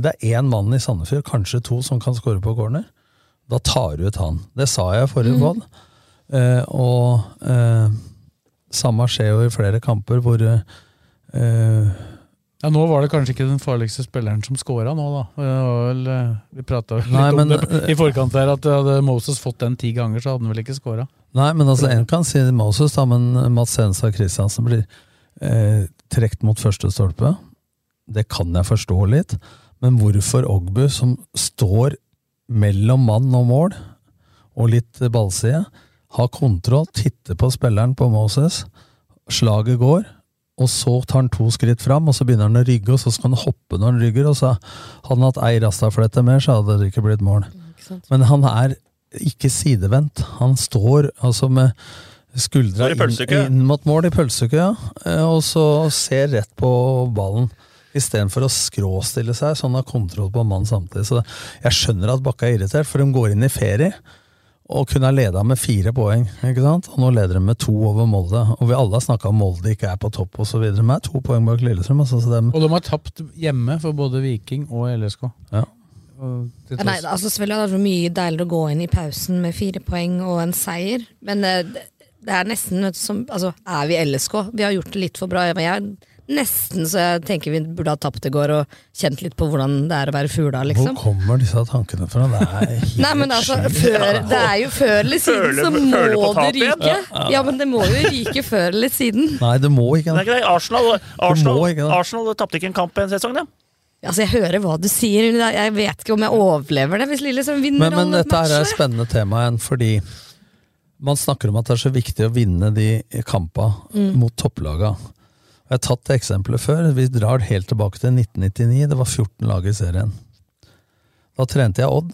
F: Det er én mann i Sandefjord, kanskje to, som kan score på corner. Da tar du ut han. Det sa jeg i forrige
E: Mhm.
F: podd. Eh, og eh, samme skjer jo i flere kamper hvor eh, eh,
E: Ja, nå var det kanskje ikke den farligste spilleren som scora nå, da. Det var vel, eh, vi prata litt
F: Nei, men- eh,
E: om det i forkant der, at hadde Moses fått den ti ganger, så hadde han vel ikke scora.
F: Nei, men altså, en kan si Moses, da, men Mats Henstad Christiansen blir eh, trukket mot første stolpe. Det kan jeg forstå litt, men hvorfor Ogbu, som står mellom mann og mål, og litt ballside, har kontroll, titter på spilleren på Moses, slaget går, og så tar han to skritt fram, og så begynner han å rygge, og så skal han hoppe når han rygger, og så hadde han hatt ei rastaflette mer, så hadde det ikke blitt mål. Men han er ikke sidevendt. Han står altså med skuldra
D: Står i
F: inn,
D: pølsekø.
F: inn mot mål i pølsekø, ja. Eh, og så ser rett på ballen. Istedenfor å skråstille seg, så han har kontroll på mannen samtidig. Så jeg skjønner at Bakke er irritert, for de går inn i ferie og kunne ha leda med fire poeng. ikke sant? Og nå leder de med to over Molde. Og vi alle har snakka om Molde ikke er på topp osv. De er to poeng bak Lillestrøm. Altså, så dem,
E: Og de har tapt hjemme for både Viking og LSK.
F: ja.
E: Og til
G: Ja, nei,
E: tross-
G: altså selvfølgelig hadde det vært mye deiligere å gå inn i pausen med fire poeng og en seier, men eh, det, det er nesten vet du, som Altså, er vi LSK? Vi har gjort det litt for bra. Jeg, jeg Nesten så jeg tenker vi burde ha tapt i går og kjent litt på hvordan det er å være fugla,
F: Hvor
G: liksom.
F: kommer disse tankene fra? Det er helt
G: Nei, men altså,
F: sjukt.
G: før, det er jo før eller siden
F: Føler-
G: så
F: føler på
G: må det
F: tap igjen.
G: ryke.
F: Ja.
G: Ja, men det må jo ryke før eller siden.
F: Nei, det må ikke
D: Det er ikke det. Arsenal,
F: Du
D: Arsenal,
F: må ikke det.
D: Arsenal tapte ikke en kamp en sesong, de.
G: Altså, jeg hører hva du sier, men jeg- jeg vet ikke om jeg overlever det hvis Lillesand
F: Men,
G: vinner
F: men
G: alle
F: dette her er et
G: matchene.
F: spennende tema igjen, fordi man snakker om at det er så viktig å vinne de kampa
G: Mm.
F: mot topplaga. Jeg har tatt det eksempelet før. Vi drar helt tilbake til 1999. Det var 14 lag i serien. Da trente jeg Odd.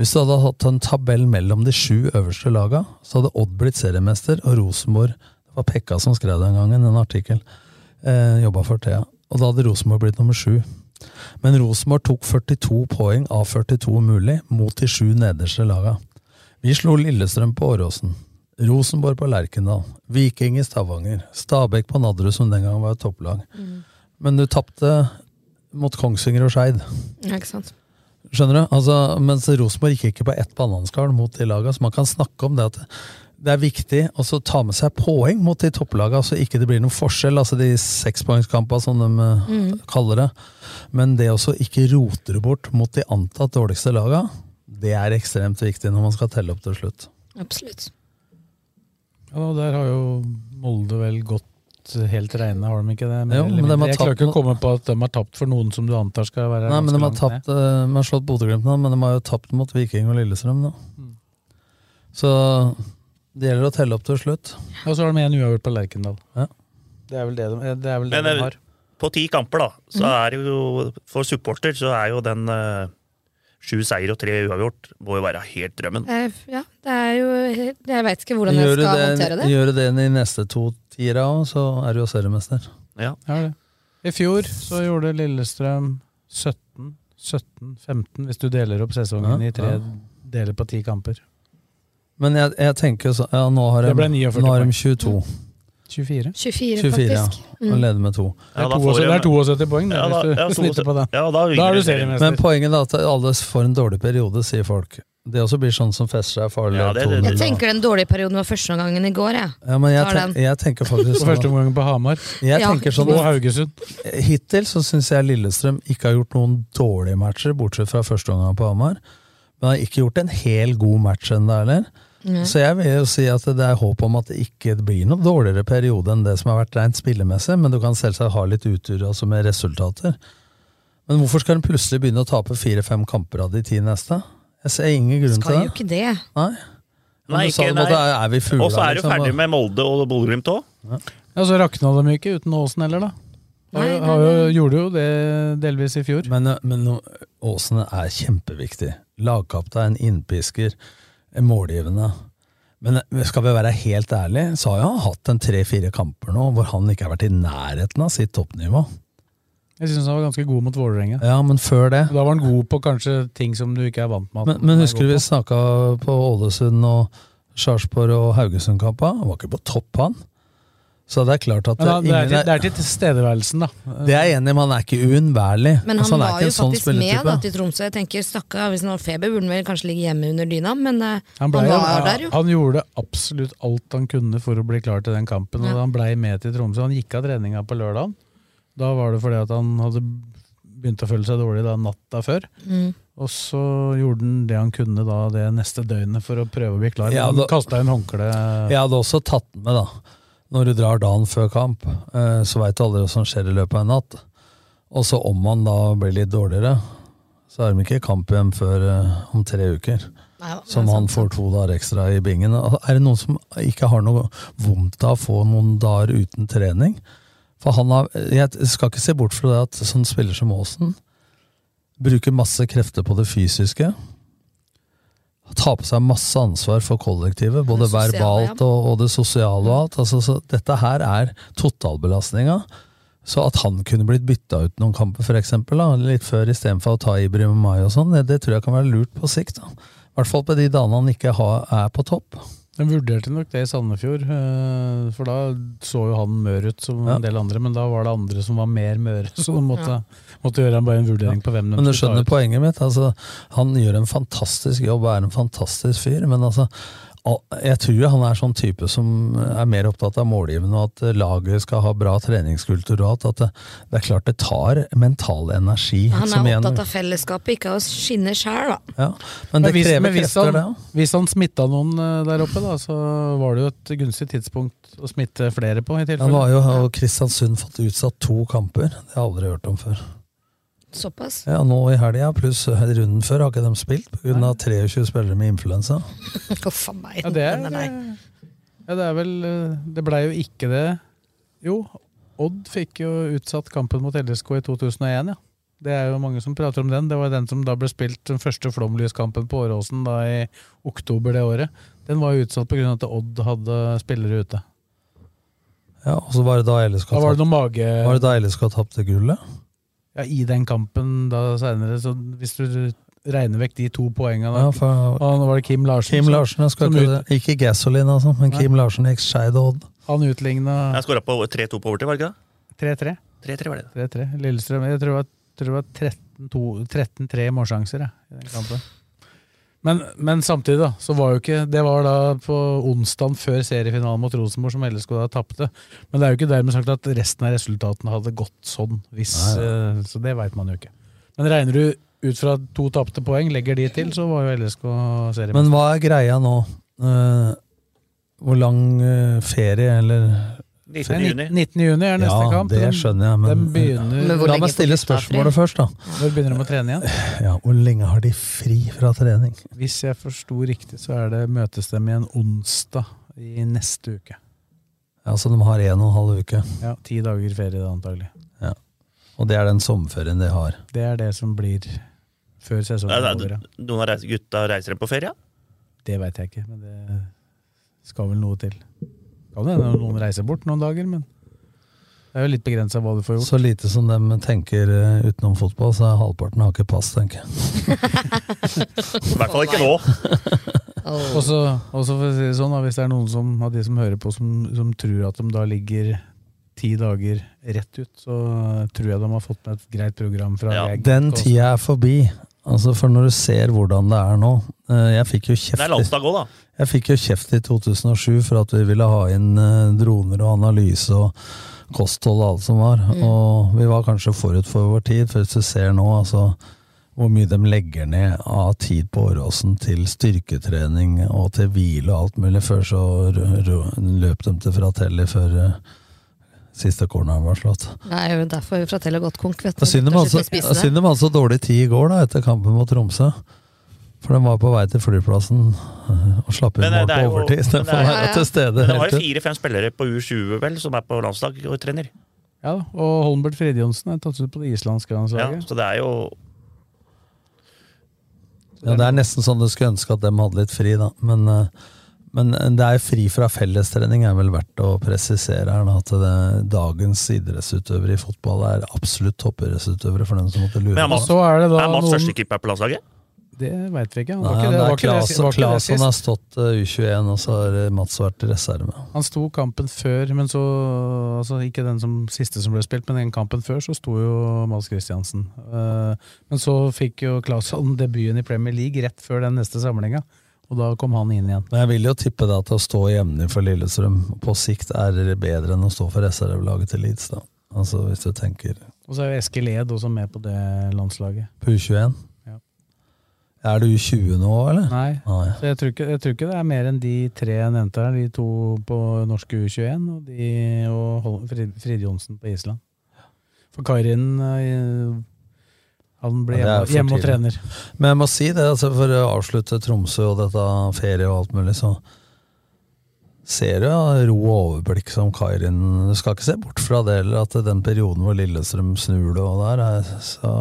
F: Hvis du hadde hatt en tabell mellom de sju øverste laga, så hadde Odd blitt seriemester, og Rosenborg Det var Pekka som skrev den gangen, en artikkel. Eh, Jobba for Thea. Og da hadde Rosenborg blitt nummer sju. Men Rosenborg tok 42 poeng av 42 mulig mot de sju nederste laga. Vi slo Lillestrøm på Åråsen, Rosenborg på Lerkendal, Viking i Stavanger, Stabæk på Nadderud, som den gang var et topplag. Men du tapte mot Kongsvinger og Skeid.
G: Ja, ikke sant?
F: Skjønner du? Altså, mens Rosenborg gikk ikke på ett bananskall mot de laga, så man kan snakke om det at det er viktig å så ta med seg poeng mot de topplaga, så ikke det blir noen forskjell. Altså de sekspoengskampene, som de eh,
H: Mm.
F: kaller det. Men det også ikke roter det bort mot de antatt dårligste laga, det er ekstremt viktig når man skal telle opp til slutt.
G: Absolutt.
E: Ja, og der har jo Molde vel gått helt reine, har de ikke det? Mer
F: Jo,
E: eller
F: men de har
E: mindre. Jeg klarer
F: tapt
E: ikke å
F: mot-
E: komme på at de har tapt for noen som du antar skal være
F: Nei, men De har
E: ganske langt
F: tapt, eh, de har slått Bodø-Glimt nå, men de har jo tapt mot Viking og Lillestrøm. nå.
E: Mm.
F: Så det gjelder å telle opp til slutt.
E: ned. Og så har de en uavgjort på Lerkendal.
F: Ja.
E: Det er vel det de, det er vel det
D: Men
E: de
D: eh,
E: har.
D: på ti kamper, da, så er det jo For supporter så er jo den eh, sju seier og tre uavgjort må jo være helt drømmen.
G: Jeg, Eh, ja, det er jo helt- Jeg veit ikke hvordan jeg
F: Gjør du
G: skal
F: det,
G: håndtere det.
F: Gjør du det i neste to tiere òg, så er du jo seriemester.
D: Ja.
E: det. I fjor så gjorde Lillestrøm 17, 17, 15, hvis du deler opp sesongen
F: Ja,
E: i tre
F: ja.
E: deler på ti kamper.
F: Men jeg, jeg tenker jo så, ja, nå har de,
E: Det ble 49
F: nå har de
E: poeng.
F: 22.
E: 24.
G: 24,
F: 24, ja.
G: faktisk. Mm.
F: Og leder med to.
E: Det er 72 det er 72 poeng, det,
D: Ja, da-
E: hvis du
D: ja, to-
E: snitter på det.
D: ja, da vinner
E: er du
D: serien.
E: seriemester.
F: Men poenget er at alle får en dårlig periode, sier folk. Det også blir sånn som fester seg farlig.
D: Ja, det- det-
G: Jeg
F: to-
G: tenker den dårlige perioden var første gangen i går, jeg.
F: ja, men jeg,
G: Tar
F: ten,
G: den.
F: jeg tenker faktisk
E: På første omgang på Hamar.
F: Jeg
G: Ja.
F: tenker sånn
E: Og Haugesund.
F: Hittil så syns jeg Lillestrøm ikke har gjort noen dårlige matcher, bortsett fra første omgang på Hamar. Men har ikke gjort en hel god match ennå heller.
H: Nei.
F: Så jeg vil jo si at det er håp om at det ikke blir noen dårligere periode enn det som har vært rent spillemessig, men du kan selvsagt ha litt utur altså med resultater. Men hvorfor skal en plutselig begynne å tape fire-fem kamper av de ti neste? Jeg ser ingen grunn
G: Skal
F: til
G: jo
F: det.
G: ikke det.
F: Nei. Men du sa jo at da er vi fugler,
D: Og så er du
F: liksom,
D: ferdig
F: da.
D: med Molde og Bodø-Glimt òg.
E: Ja, så rakna de jo ikke uten Åsen heller, da. Har, jo-
D: Nei, nei,
E: har, jo- gjorde jo det delvis i fjor.
F: Men, eh, men nå- Åsene er kjempeviktig. Lagkaptein, innpisker, målgivende. Men eh, skal vi være helt ærlige, så har han hatt en tre-fire kamper nå hvor han ikke har vært i nærheten av sitt toppnivå.
E: Jeg syns han var ganske god mot Vålerenga.
F: Ja, men før det
E: Da var han god på kanskje ting som du ikke er vant med. at
F: Men,
E: han
F: men
E: er
F: husker
E: god
F: du vi
E: på.
F: snakka på Ålesund og Sarpsborg og Haugesund-kampa? Han var ikke på topp, han. Så det er klart at
E: Men da, det, er
F: ingen
E: til, det er til tilstedeværelsen, da.
F: Det er jeg enig i, man er ikke uunnværlig.
G: Men
F: Altså,
G: han
F: er
G: var
F: ikke
G: jo
F: en sånn
G: faktisk med da,
F: spilletype.
G: til Tromsø. Jeg tenker, stakka, Hvis han har feber, burde han vel kanskje ligge hjemme under dyna, men eh, han,
E: ble jo-
G: var der, jo.
E: han gjorde absolutt alt han kunne for å bli klar til den kampen, og
G: Ja.
E: han blei med til Tromsø. Han gikk av treninga på lørdagen. Da var det fordi at han hadde begynt å føle seg dårlig da natta før.
G: Mm.
E: Og så gjorde han det han kunne da det neste døgnet for å prøve å bli klar.
F: Ja,
E: han
F: da-
E: kasta inn håndkleet.
F: Jeg hadde også tatt den med, da. Når du drar dagen før kamp, eh, så veit du aldri hva som skjer i løpet av en natt. Og så om man da blir litt dårligere, så er de ikke i kamp igjen før eh, om tre uker.
G: Nei, altså, det er
F: Som han får to dager ekstra i bingen. Og Er det noen som ikke har noe vondt av å få noen dager uten trening? For han har, Jeg skal ikke se bort fra det at sånn spiller som Aasen bruker masse krefter på det fysiske. Tar på seg masse ansvar for kollektivet, både
H: sosiale,
F: verbalt og, og det sosiale. og alt. Altså, så dette her er totalbelastninga. Så at han kunne blitt bytta ut noen kamper, for eksempel, da, litt før istedenfor å ta Ibrahim og Mai og sånn, det, det tror jeg kan være lurt på sikt. da. I hvert fall på de dagene han ikke har, er på topp.
E: De vurderte nok det i Sandefjord, eh, for da så jo han mør ut som en del andre, men da var det andre som var mer møre, så de måtte, måtte gjøre bare en vurdering på hvem de
F: Men du
E: skulle
F: skjønner
E: ta ut.
F: poenget mitt. Altså, han gjør en fantastisk jobb og er en fantastisk fyr, men altså al- jeg tror han er sånn type som er mer opptatt av målgivende og at eh, laget skal ha bra treningskultur. og alt, at det, det er klart det tar mental energi.
G: Han
F: som
G: er
F: igjen-
G: opptatt av fellesskapet, ikke av å skinne sjæl, da.
F: ja. Men det
E: hvis,
F: krever
E: hvis
F: krefter,
E: han,
F: det òg.
E: Hvis han smitta noen eh, der oppe, da, så var det jo et gunstig tidspunkt å smitte flere på. i
F: Han
E: tilfelle.
F: var jo og Kristiansund fått utsatt to kamper. Det har jeg aldri hørt om før.
G: Såpass.
F: Ja, nå i helga, pluss runden før, har ikke de spilt pga. 23 spillere med influensa.
G: Huff a meg.
E: Ja, det er,
G: Nei, nei,
D: eh,
G: nei.
E: ja, det er vel eh, Det blei jo ikke det Jo, Odd fikk jo utsatt kampen mot LSK i 2001, ja. Det er jo mange som prater om den. Det var den som da ble spilt den første flomlyskampen på Åråsen da i oktober det året. Den var jo utsatt pga. at Odd hadde spillere ute.
F: Ja, og så var det da LSK
E: Da var det noe mage...
F: Var det da LSK tapte gullet?
E: Ja, I den kampen da seinere, så hvis du regner vekk de to poenga da
F: Ja, for-
E: Og Nå var det Kim Larsen.
F: Kim
E: som-
F: Larsen, jeg skal
E: som
F: ikke, ikke Gasoline, altså, men
E: Nei.
F: Kim Larsen gikk skeid og Odd.
E: Han utligna
D: Jeg skåra på 3-2 på overtid, var det ikke det?
E: 3-3.
D: 3-3 var det.
E: 3-3. Lillestrøm Jeg tror det var- tror det var 13-2 13-3 målsjanser jeg, i den kampen. Men, men samtidig, da, så var jo ikke Det var da på onsdagen før seriefinalen mot Rosenborg, som LSK da tapte. Men det er jo ikke dermed sagt at resten av resultatene hadde gått sånn, hvis
F: Nei,
E: eh, Så det veit man jo ikke. Men regner du ut fra to tapte poeng, legger de til, så var jo LSK seriemester.
F: Men hva er greia nå? Eh, hvor lang eh, ferie, eller
D: 19. juni.
E: 19. juni er neste
F: Ja,
E: kamp.
F: det
E: Den-
F: skjønner jeg, men,
E: den begynner,
G: Men hvor
F: la
G: lenge
F: meg stille
G: får gutta fri?
F: spørsmålet først, da.
E: Når begynner de å trene igjen?
F: Ja, hvor lenge har de fri fra trening?
E: Hvis jeg forsto riktig, så er det møtes dem igjen onsdag i neste uke.
F: Ja, Så de har en og en halv uke,
E: Ja, Ti dager ferie, da, antagelig.
F: og det er den sommerferien de har.
E: Det er det som blir før sesongen er
D: Ja, da-
E: over. ja.
D: Noen av reis- gutta reiser hjem på ferie? ja?
E: Det veit jeg ikke, men det skal vel noe til. Kan hende noen reiser bort noen dager, men det er jo litt begrensa hva du får gjort.
F: Så lite som de tenker eh, utenom fotball, så er halvparten har ikke pass, tenker jeg.
D: I hvert fall ikke nå.
E: Og så og så for å si det sånn, da, hvis det er noen som, av de som hører på, som, som tror at de da ligger ti dager rett ut, så tror jeg de har fått med et greit program fra
D: Ja,
E: VG.
F: Den
E: Og-
F: tida er forbi. Altså, For når du ser hvordan det er nå eh, Jeg fikk jo
D: Det er
F: kjeft i-
D: landsdag òg, da.
F: Jeg fikk jo kjeft i 2007 for at vi ville ha inn eh, droner og analyse og kosthold og alt som var. Og vi var kanskje forut for vår tid, for hvis du ser nå altså, hvor mye de legger ned av tid på Åråsen til styrketrening og til hvile og alt mulig. Før så rø- rø- løp de til Fratelli før eh, siste corneren var slått.
G: Det er jo derfor Fratello har gått konk. vet du.
F: Da synd de
G: Gutter
F: altså,
G: sitter i spissene.
F: synd de altså dårlig tid i går da, etter kampen mot Tromsø. For de var på vei til flyplassen eh, og slapp inn
D: Men, eh,
F: mål
D: det
F: på
D: er jo- men
F: overtid.
D: det
F: Istedenfor
D: er-
F: å være til stede.
D: Men det var
F: helt
D: jo
F: ut.
D: fire-fem spillere på U20 vel, som er på landslag og trener.
E: Ja, da, og Holmbert Fridjonsen er tatt ut på det islandske
D: Ja,
E: landslaget.
D: så det er jo
F: Ja, det er nesten sånn du skulle ønske at de hadde litt fri, da. Men, eh, men det er fri fra fellestrening er vel verdt å presisere her, da, at det, dagens idrettsutøvere i fotball er absolutt toppidrettsutøvere, for dem som måtte lure
D: Men
F: på
D: Mats-
E: Og så er det da
D: Er Mats
E: noen
D: første keeper på landslaget?
E: Det veit vi ikke. Han
F: Nei,
E: var ikke
F: men
E: det,
F: det
E: var
F: er
E: ikke det, si-
F: Claesson
E: var ikke det
F: har
E: sist.
F: stått eh, U21, og så har eh, Mats vært reserve.
E: Han sto kampen før, men så altså Ikke den som, siste som ble spilt, men den kampen før, så sto jo Mads Christiansen. Eh, men så fikk jo Claesson debuten i Premier League rett før den neste samlinga, og da kom han inn igjen.
F: Men jeg vil jo tippe det at å stå jevnlig for Lillestrøm på sikt er bedre enn å stå for reservelaget til Leeds, da. Altså hvis du tenker
E: Og så er jo Eskil Ed også med på det landslaget.
F: på U21.
E: Ja.
F: Er du U20 nå, eller?
E: Nei,
F: Nei.
E: så jeg tror, ikke, jeg tror ikke det er mer enn de tre jeg nevnte her, de to på norske U21 og, de, og Hol- Frid, Frid Johnsen på Island. For Karin eh, han ble
F: Ja, det er
E: hjemme,
F: jo for
E: hjemme og
F: tidlig.
E: trener.
F: Men jeg må si det, altså for å avslutte Tromsø og dette ferie og alt mulig, så ser du ja, ro og overblikk som Kairin. Du skal ikke se bort fra det heller, at den perioden hvor Lillestrøm snur det og der, er, så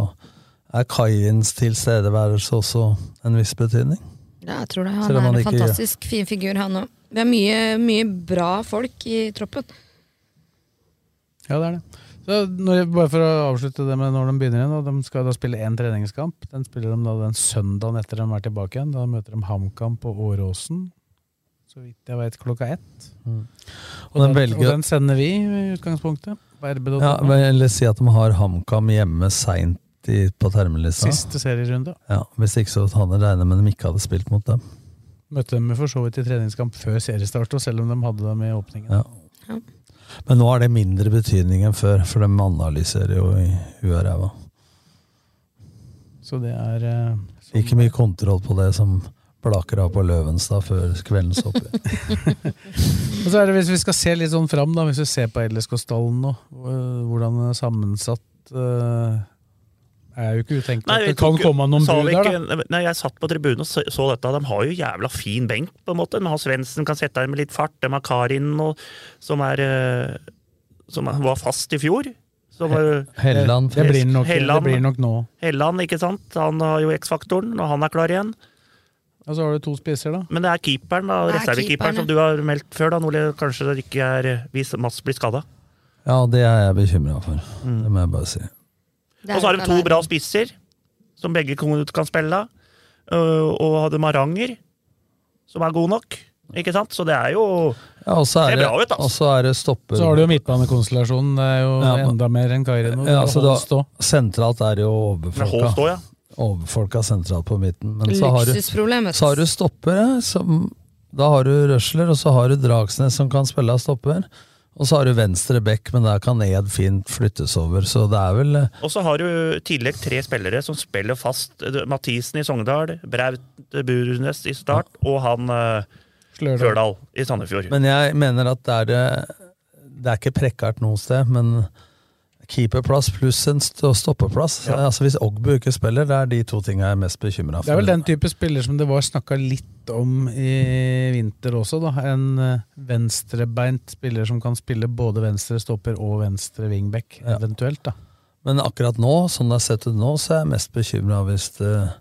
F: er Kairins tilstedeværelse også en viss betydning.
G: Ja, jeg tror det.
F: Selv
G: Han
F: om
G: er
F: han
G: en
F: ikke-
G: fantastisk fin figur, han òg. Vi har mye, mye bra folk i troppen.
E: Ja, det er det. Så når, bare for å avslutte det med når de begynner igjen, da, de skal da spille én treningskamp. Den spiller de da den søndagen etter de er tilbake igjen. Da møter de HamKam på Åråsen. Så vidt jeg vvet, klokka ett.
F: Og
E: Og,
F: den
E: den, og
F: Mm. velger
E: den sender vi i utgangspunktet. På rb.no.
F: ja, vel, Eller si at de har HamKam hjemme seint på termelista.
E: Siste serierunde.
F: Ja, hvis ikke så hadde han regnet med de ikke hadde spilt mot dem.
E: Møtte dem for så vidt i treningskamp før seriestart, og selv om de hadde dem i åpningen.
F: Ja.
G: Ja.
F: Men nå har det mindre betydning enn før, for de analyserer jo i huet og ræva.
E: Så det er eh, sånn-
F: Ikke mye kontroll på det som blaker av på Løvenstad før kveldens oppgjør.
E: Og så er det hvis vi skal se litt sånn fram, da, hvis eh, vi ser på LSK-stallen nå, øh, hvordan den er sammensatt øh, Det er jo ikke utenkelig
D: Nei,
E: at
D: vi
E: det kan
D: tok-
E: komme noen
D: sa
E: bud
D: vi
E: der, da.
D: ikke- Nei, jeg satt på tribunen og så, så dette. De har jo jævla fin benk, på en måte. De har Svendsen, kan sette her med litt fart. De har Karin, og, som er eh, Som er- var fast i fjor. Som var-
F: Helland,
E: det, det, blir nok,
D: Helland.
E: det blir nok nå.
D: Helland, ikke sant. Han har jo X-faktoren, og han er klar igjen.
E: Og så har du to spisser, da.
D: Men det er keeperen, da.
E: Det er
D: Reservekeeperen,
E: keeperen,
D: som du har meldt før, da, Nordli. Kanskje det ikke er hvis Mats blir skada.
F: Ja, det er jeg bekymra for.
D: Mm.
F: Det må jeg bare si.
D: Og så har de to bra spisser, som begge kan kan spille. øh, Og hadde Maranger, som er god nok. Ikke sant? Så det er jo
F: Ja, og så
D: Det
F: er det,
D: er bra ut, altså.
F: og så er det stopper
E: Så har du jo midtbanekonstellasjonen. Det er jo
F: Ja,
E: enda mer enn Kairino.
F: ja, så
E: Holst
F: da,
E: også.
F: Sentralt er det jo
D: Men Holst
F: overfolka.
D: også, ja.
F: Overfolka sentralt på midten. Men så har
G: Luksusproblem,
F: du,
G: vet du.
F: så har du stoppere. Som, mm, da har du Røsler, og så har du Dragsnes som kan spille av stopper. Og så har du venstre bekk, men der kan Ed fint flyttes over. Så det er vel eh,
D: Og så har du i tillegg tre spillere som spiller fast. Du- Mathisen i Sogndal, Braut Burnes i Start, og han øh, Fjørdal i Sandefjord.
F: Men jeg mener at det er det Det er ikke prekkart noe sted, men keeperplass pluss en st- stoppeplass. Altså Hvis Ogbu ikke spiller, det er de to tingene jeg er mest bekymra for.
E: Det er vel den type spiller som det var snakka litt om i vinter også, da. En eh, venstrebeint spiller som kan spille både venstre stopper og venstre wingback, eventuelt, da.
F: Men akkurat nå, sånn det har sett ut nå, så er jeg mest bekymra hvis eh,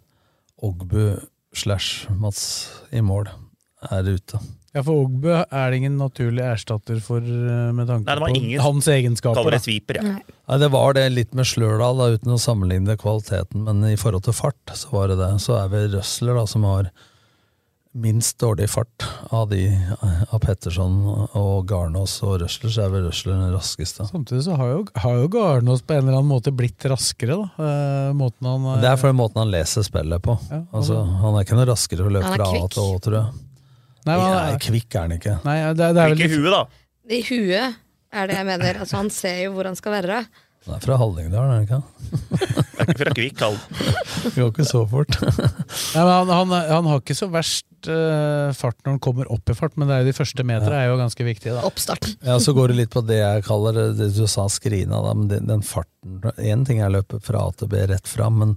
F: Ogbu slash Mats i mål er ute.
E: Ja, for Ogbu er det ingen naturlig erstatter for, eh, med tanke
D: Nei, det var
E: på
D: ingen
E: hans egenskaper.
D: kaller det
E: da.
D: sviper, ja. Nei.
F: Nei, det var det litt med Slørdal, da, uten å sammenligne kvaliteten, men i forhold til fart, så var det det. Så er vi Røsler, da, som har minst dårlig fart av de av Petterson og Garnås og Røsler, så er vel Røsler den raskeste.
E: Samtidig så har jo, har jo Garnås på en eller annen måte blitt raskere, da. Eh, måten han eh,
F: Det er for den måten han leser spillet på. altså, han er ikke noe raskere å løpe
E: Han er
F: fra A
E: kvikk.
F: til Å, tror jeg.
E: Nei, men han
F: Nei,
E: er-
F: kvikk er han ikke.
E: Nei, det, er- det er vel
D: Ikke huet, da.
G: I huet er det jeg mener. Altså, han ser jo hvor han skal være.
F: Han er fra Hallingdal, er han ikke?
D: Det er ikke fra Kvikk, han.
F: Det går ikke så fort.
E: Nei, men han, han, han har ikke så verst eh, fart når han kommer opp i fart, men det er jo de første meterne er jo ganske viktige. Da.
G: Oppstarten.
F: Ja, så går det litt på det jeg kaller det- det du sa skrina, da, men den, den farten Én ting er å løpe fra A til B rett fram, men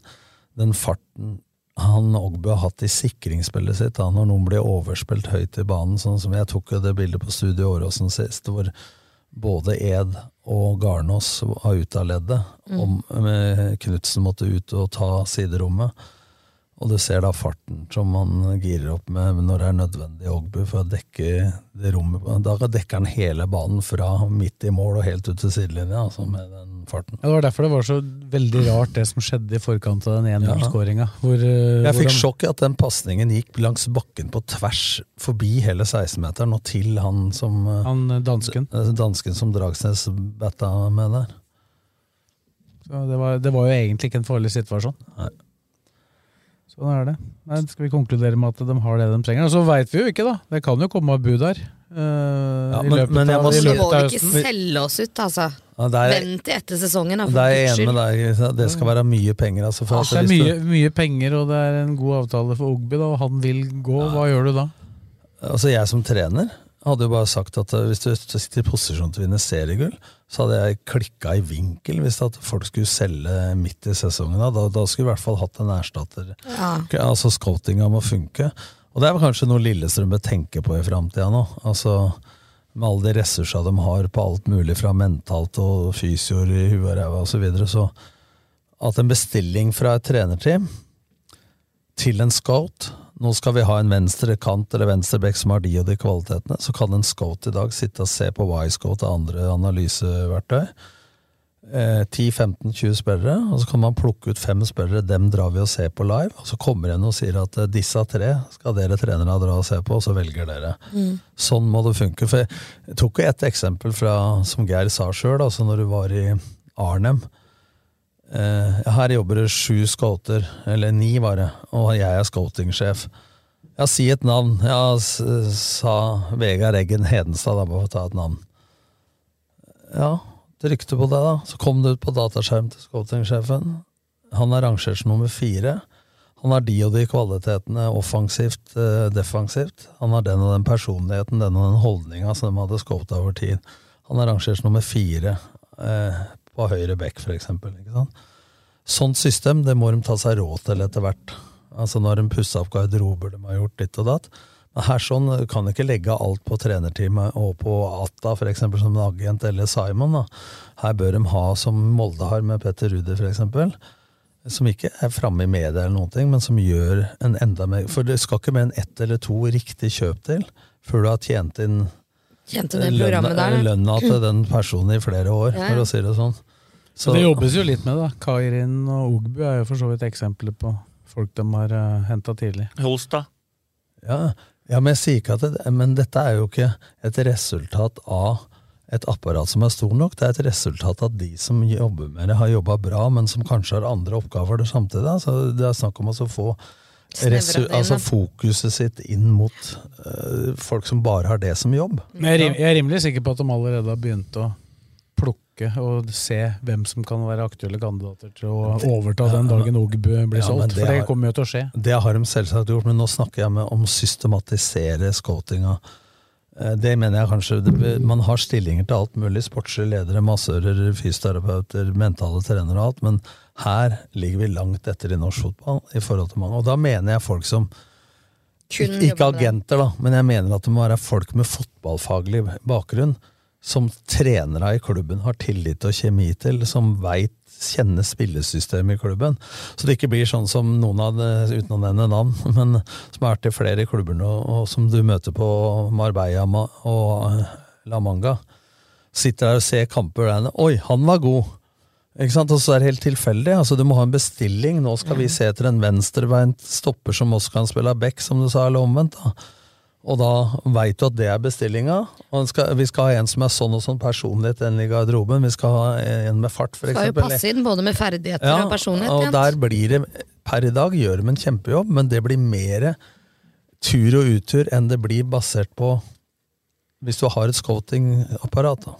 F: den farten han Ogbu har hatt i sikringsspillet sitt da, når noen blir overspilt høyt i banen, sånn som jeg tok jo det bildet på Studio Åråsen sist, hvor både Ed og Garnås var ute av leddet. om- med Knutsen måtte ut og ta siderommet. Og du ser da farten som han girer opp med når det er nødvendig i Ogbu for å dekke det rommet. Da dekker han hele banen fra midt i mål og helt ut til sidelinja, altså med den farten.
E: Ja, det var derfor det var så veldig rart det som skjedde i forkant av den eh, 1-0-skåringa.
F: Jeg fikk sjokk i at den pasningen gikk langs bakken på tvers forbi hele 16-meteren og til han som eh,
E: Han eh, dansken.
F: eh, dansken som Dragsnes batta med der.
E: Så det, var, det var jo egentlig ikke en farlig situasjon.
F: Nei.
E: Sånn er det. Nei, skal vi konkludere med at de har det de trenger? Og så veit vi jo ikke, da. Det kan jo komme av bud her. eh, i
F: men-
E: løpet
F: men jeg
E: av-
F: må
E: i
F: si-
E: løpet
G: Må
E: av
G: vi ikke
E: høsten.
G: selge oss ut, altså?
F: Ja, det er-
G: Vent til etter sesongen, da,
F: Det
G: for
F: er jeg
G: guds
F: enig
G: skyld.
F: med deg, Kristian. Det skal være mye penger. Altså, for
E: Mm. Det
F: at hvis
E: er
F: du-
E: mye, mye penger, og det er en god avtale for Ogby, da, og han vil gå. Hva gjør du da?
F: Altså jeg som trener hadde jo bare sagt at eh, hvis du sitter i posisjon til å vinne seriegull, så hadde jeg klikka i vinkel hvis at folk skulle selge midt i sesongen. Da, da, da skulle vi i hvert fall hatt en erstatter.
G: Ja.
F: Ok, Altså Scoutinga må funke. Og det er vel kanskje noe Lillestrøm bør tenke på i framtida nå. Altså Med alle de ressursa de har på alt mulig fra mentalt og fysioer i huet og ræva osv. Så, videre, så at en bestilling fra et trenerteam til en scout Nå skal vi ha en venstre kant eller venstreback som har de og de kvalitetene. Så kan en scout i dag sitte og se på Y-scout og andre analyseverktøy. Eh, 10-15-20 spillere, og så kan man plukke ut fem spillere. Dem drar vi og ser på live. Og så kommer en og sier at eh, disse tre skal dere trenere dra og se på, og så velger dere.
H: Mm.
F: Sånn må det funke. For jeg tok jo et eksempel fra, som Geir sa sjøl, altså når du var i Arnem. Eh, her jobber det sju scouter, eller ni var det, og jeg er scouting-sjef. Ja, si et navn. Ja, s- sa Vegard Eggen Hedenstad, da, bare for å ta et navn. Ja, et rykte på det, da. Så kom det ut på dataskjerm til scouting-sjefen. Han er rangert som nummer fire. Han har de og de kvalitetene offensivt, eh, defensivt. Han har den og den personligheten, den og den holdninga som de hadde scopet over tid. Han er rangert som nummer fire eh, på høyre bekk, for eksempel. Ikke sant? Sånt system det må de ta seg råd til etter hvert. Altså Nå har de pussa opp garderober, de har gjort ditt og datt. Men her sånn kan du ikke legge alt på trenerteamet og på Atta, for eksempel, som en agent, eller Simon. da. Her bør de ha, som Molde har med Petter Rudi, for eksempel, som ikke er framme i media, eller noen ting, men som gjør en enda mer For det skal ikke mer enn ett eller to riktig kjøp til før du har tjent inn
G: Kjente det programmet der.
F: lønna- lønna til den personen i flere år,
G: Ja, ja.
F: for å si det sånn.
E: Så det jobbes jo litt med, da. Kairin og Ogbu er jo for så vidt eksempler på folk de har uh, henta tidlig.
D: Holstad.
F: Ja, ja men jeg sier ikke at det, Men dette er jo ikke et resultat av et apparat som er stor nok. Det er et resultat av at de som jobber med det, har jobba bra, men som kanskje har andre oppgaver det samtidig. Altså, det er snakk om å så få
E: Snevre
F: resu,
E: det inn,
F: altså,
E: da.
F: fokuset sitt inn mot øh, folk som bare har det som jobb.
E: Men jeg, er rim- jeg er rimelig sikker på at de allerede har begynt å plukke og se hvem som kan være aktuelle kandidater til å overta den dagen Ogbu blir
F: Ja, men
E: solgt. For det
F: har-
E: kommer jo til å skje.
F: Det har de selvsagt gjort, men nå snakker jeg med om systematisere scoutinga. Eh, Det mener jeg kanskje det, be- Man har stillinger til alt mulig. Sportslige ledere, massører, fysioterapeuter, mentale trenere og alt. Men her ligger vi langt etter i norsk fotball i forhold til mange. Og da mener jeg folk som
G: Kun
F: Ik ikke
G: jobber med det.
F: agenter, da, men jeg mener at det må være folk med fotballfaglig bakgrunn som trenere i klubben har tillit og kjemi til, som veit kjenner spillesystemet i klubben. Så det ikke blir sånn som noen av det, uten å nevne navn, men som er til flere klubber nå, og som du møter på Marbella ma- og eh, La Manga. Sitter der og ser kamper der inne. Oi, han var god! Ikke sant? Og så er det helt tilfeldig. altså Du må ha en bestilling. Nå skal vi se etter en venstrebeint stopper som også kan spille av back, som du sa, eller omvendt. da. Og da veit du at det er bestillinga. Og en skal, vi skal ha en som er sånn og sånn personlighet enn i garderoben. Vi skal ha en med fart, for
G: Skal jo
F: eksempel.
G: passe inn både med ferdigheter og personlighet.
F: og
G: igjen.
F: der blir det, per i dag gjør de en kjempejobb, men det blir mer tur og utur enn det blir basert på hvis du har et scouting-apparat. da.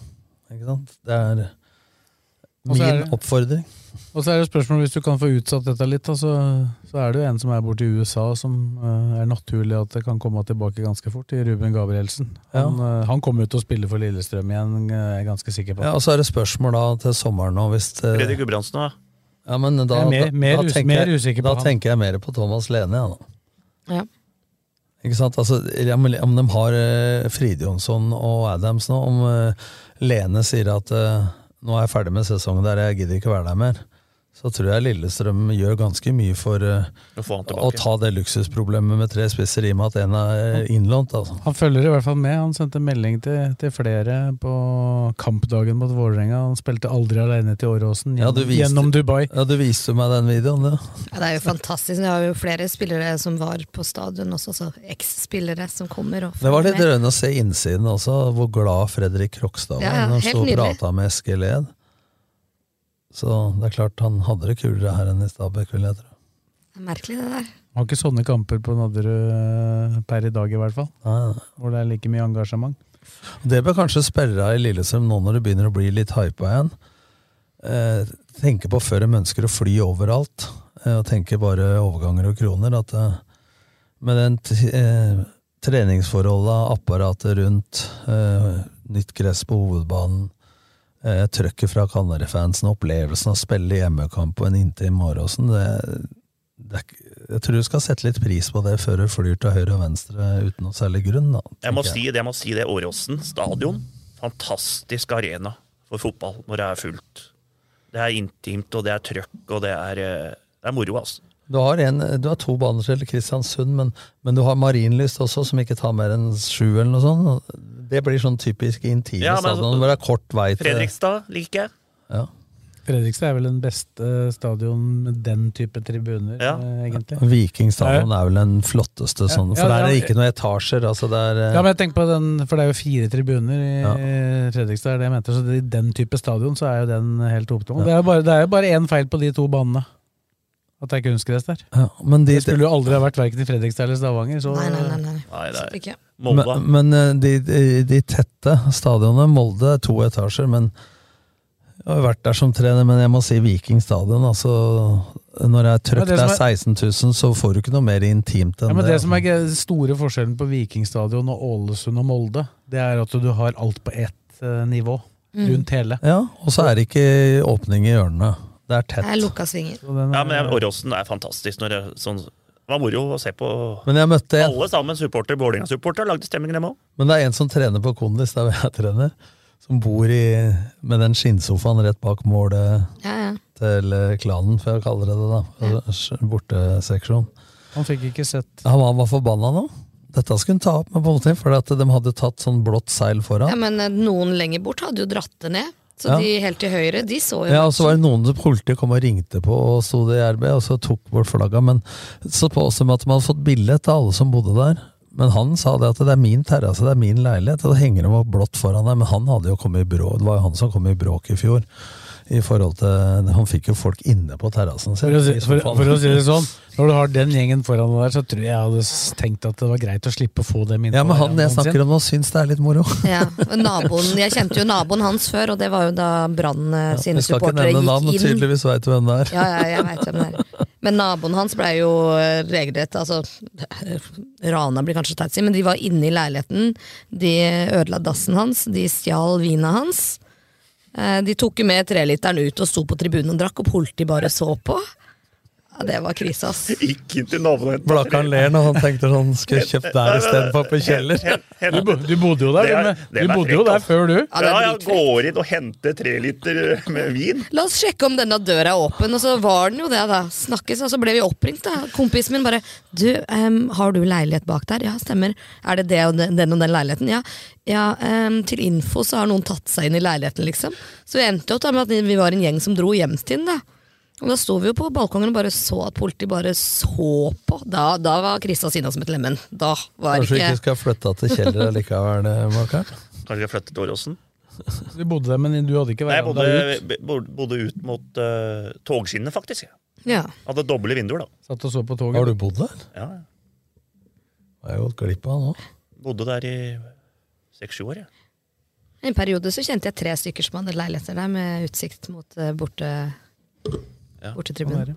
F: Ikke sant? Det er
E: Og så er
F: min
E: det-
F: oppfordring.
E: Og så er det spørsmålet, hvis du kan få utsatt dette litt, da, så, så er det jo en som er borte i USA som eh, er naturlig at det kan komme tilbake ganske fort, i Ruben Gabrielsen. Han, eh, han kommer jo til å spille for Lillestrøm igjen, eh, jeg er ganske sikker på.
F: Ja, og så er det spørsmål da til sommeren nå, hvis det,
D: Fredrik Gudbrandsen, da.
F: ja, men da,
E: Jeg er mer-
F: da-
E: mer
F: da,
E: us-
F: tenker,
E: mer
F: jeg-
E: usikker på
F: da
E: han.
F: tenker jeg mer på Thomas Lene, ja, da.
G: Ja.
F: Ikke sant? Altså, ja, men om de har eh, Fride Jonsson og Adams nå, om eh, Lene sier at eh, nå er jeg ferdig med sesongen der, jeg gidder ikke være der mer, så tror jeg Lillestrøm gjør ganske mye for eh,
D: Å få han
F: å
D: tilbake.
F: ta det luksusproblemet med tre spisser i og med at en er eh, innlånt. Altså.
E: Han følger i hvert fall med. Han sendte melding til, til flere på kampdagen mot Vålerenga. Han spilte aldri alene til Åråsen
F: Ja, du
E: gjennom,
F: viste-
E: gjennom Dubai.
F: Ja, du viste meg den videoen, ja.
G: Ja, det er jo fantastisk. Vi har jo flere spillere som var på stadion også, så eks-spillere som kommer. Og
F: Det var litt
G: med.
F: rørende å se innsiden også, hvor glad Fredrik Krokstad var
G: Ja, ja,
F: når han
G: helt
F: sto og
G: nydelig.
F: prata med Eskil Ed. Så det er klart han hadde det kulere her enn i Stabæk, vil jeg tro.
G: Det er Merkelig, det der.
E: Har ikke sånne kamper på Nadderud eh, per i dag, i hvert fall.
F: Nei,
E: Hvor det er like mye engasjement.
F: Det bør kanskje sperre av i Lillestrøm nå når det begynner å bli litt hypa igjen. Eh, tenke på før de ønsker å fly overalt, eh, og tenke bare overganger og kroner. At eh, med den t eh, treningsforholda, apparatet rundt, eh, nytt gress på hovedbanen, eh, trøkket fra Canary-fansen, opplevelsen av å spille hjemmekamp på en inntil Måråsen det, det er, ikke- Jeg tror du skal sette litt pris på det før du flyr til høyre og venstre uten noe særlig grunn. Da,
D: Jeg må
F: tenker jeg.
D: si det, jeg må si det. Åråsen stadion. Fantastisk arena for fotball når det er fullt. Det er intimt, og det er trøkk, og det er, eh, det er moro, altså.
F: Du har, en, du har to baner til Kristiansund, men, men du har Marienlyst også, som ikke tar mer enn sju eller noe sånt. Det blir sånn typisk intime
D: Ja, men-
F: stadion, hvor det er kort vei til
D: Fredrikstad liker jeg.
F: Ja.
E: Fredrikstad er vel den beste stadion med den type tribuner, eh, egentlig.
F: Viking stadion er vel den flotteste
E: Ja,
F: sånn, for
E: ja,
F: der er det
E: ja.
F: ikke noen etasjer. Altså det er, eh,
E: Ja, men jeg tenker på den, for det er jo fire tribuner i Fredrikstad, er det jeg mente. Så i den type stadion så er jo den helt opptom.
F: Ja.
E: Det er jo bare- det er jo bare én feil på de to banene. At det er kunstgress der.
F: ja, men de,
E: Det skulle jo aldri ha vært verken i Fredrikstad eller Stavanger. Så,
G: Nei, nei, nei. nei.
D: Nei, det er-
G: Ikke.
D: Molde.
F: Men, men eh, de, de, de tette stadionene Molde er to etasjer, men jeg har jo vært der som trener, men jeg må si Viking stadion. Altså, når det er
E: Ja,
F: trøkk
E: det
F: der
E: som
F: 16 000, så får du ikke noe mer intimt enn
E: Ja, men
F: det.
E: det som er gre- den store forskjellen på Vikingstadion og Ålesund og Molde, det er at du har
G: Mm.
E: alt på ett eh, nivå rundt hele.
F: Ja, og så er det ikke åpning i hjørnene. Det Det er tett.
G: Det er lukka svinger.
D: Ja, men Åråsen er fantastisk. Når det, er sånn, det var moro å se på.
F: Men jeg møtte en-
D: Alle sammen supporter, Vålerenga-supporter lagde stemning, dem òg.
F: Men det er en som trener på Kondis, der hvor jeg trener, som bor i, med den skinnsofaen rett bak målet
G: Ja, ja.
F: til eh, klanen, for jeg kaller det det, da. Altså, Borteseksjon.
E: Han fikk ikke sett
F: Han var, var forbanna nå. Dette skulle han ta opp med politiet, for at de hadde tatt sånn blått seil
G: ja,
F: foran.
G: men eh, noen lenger bort hadde jo dratt det ned. Så
F: Ja.
G: de helt til høyre, de så jo
F: Ja, altså. og så var det noen som politiet kom og ringte på og sto det i RB, og så tok bort flagga. Men så påstod de at de hadde fått bilde til alle som bodde der. Men han sa det at det er min terrasse, det er min leilighet, og da henger de opp blått foran deg. Men han hadde jo kommet i bråk, det var jo han som kom i bråk i fjor. I forhold til, Han fikk jo folk inne på terrassen sin.
E: For å, si, for, for å si det sånn, når du har den gjengen foran deg der, så tror jeg jeg hadde s- tenkt at det var greit å slippe å få dem inn.
F: Ja,
E: på
F: men han jeg
E: verandaen sin.
F: snakker om nå, syns det er litt moro.
G: Ja, og naboen, Jeg kjente jo naboen hans før, og det var jo da Brann eh,
F: Vi
G: sine
F: skal ikke
G: supportere
F: nevne navn, men
G: gikk inn.
F: tydeligvis veit du hvem det er.
G: Ja, ja, jeg vet hvem det er. Men naboen hans ble jo eh, regelrett altså, Rana blir kanskje teit å si, men de var inne i leiligheten. De ødela dassen hans, de stjal vina hans. Eh, De tok jo med treliteren ut og sto på tribunen og drakk, og politiet bare så på. Ja, det var krise, ass.
D: Gikk inn til naboen og hentet
F: Blakan ler når han tenkte sånn, skal jeg kjøpe der istedenfor på Kjeller?
D: Du,
E: bodde jo
F: der, men- du bodde jo der før du. Ja,
D: Ja,
F: det er
D: altså. ja, går inn og henter tre liter eh, med vin.
G: La oss sjekke om denne døra er åpen, og så var den jo det, da. Snakkes, og så ble vi oppringt, da. Kompisen min bare Du, em, har du leilighet bak der? Ja, stemmer. Er det det og den, den og den leiligheten? Ja. ja em, til info så har noen tatt seg inn i leiligheten, liksom. Så vi endte jo opp da med at vi var en gjeng som dro hjem til den, da. Og da sto vi jo på balkongen og bare så at politiet bare så på. Da, da var Krista sinna som et lemen. Da var
F: Kanskje vi ikke
G: ikke
F: skal flytte til Kjeller eh, likevel, Blakan?
D: Kanskje vi har flyttet til Åråsen?
E: Du bodde der, men du hadde ikke
D: Nei, jeg
E: veranda
D: bodde,
E: ut.
D: bo- bodde ut mot uh, togskinnene, faktisk.
G: Ja.
D: Hadde doble vinduer, da.
E: Satt og så på toget.
F: Har du bodd der?
D: Ja, ja.
F: Jeg har gått glipp av nå.
D: bodde der i seks-sju år, jeg.
G: I en periode så kjente jeg tre stykker som hadde leiligheter der med utsikt mot eh, borte,
E: sånn
G: bortetribunen.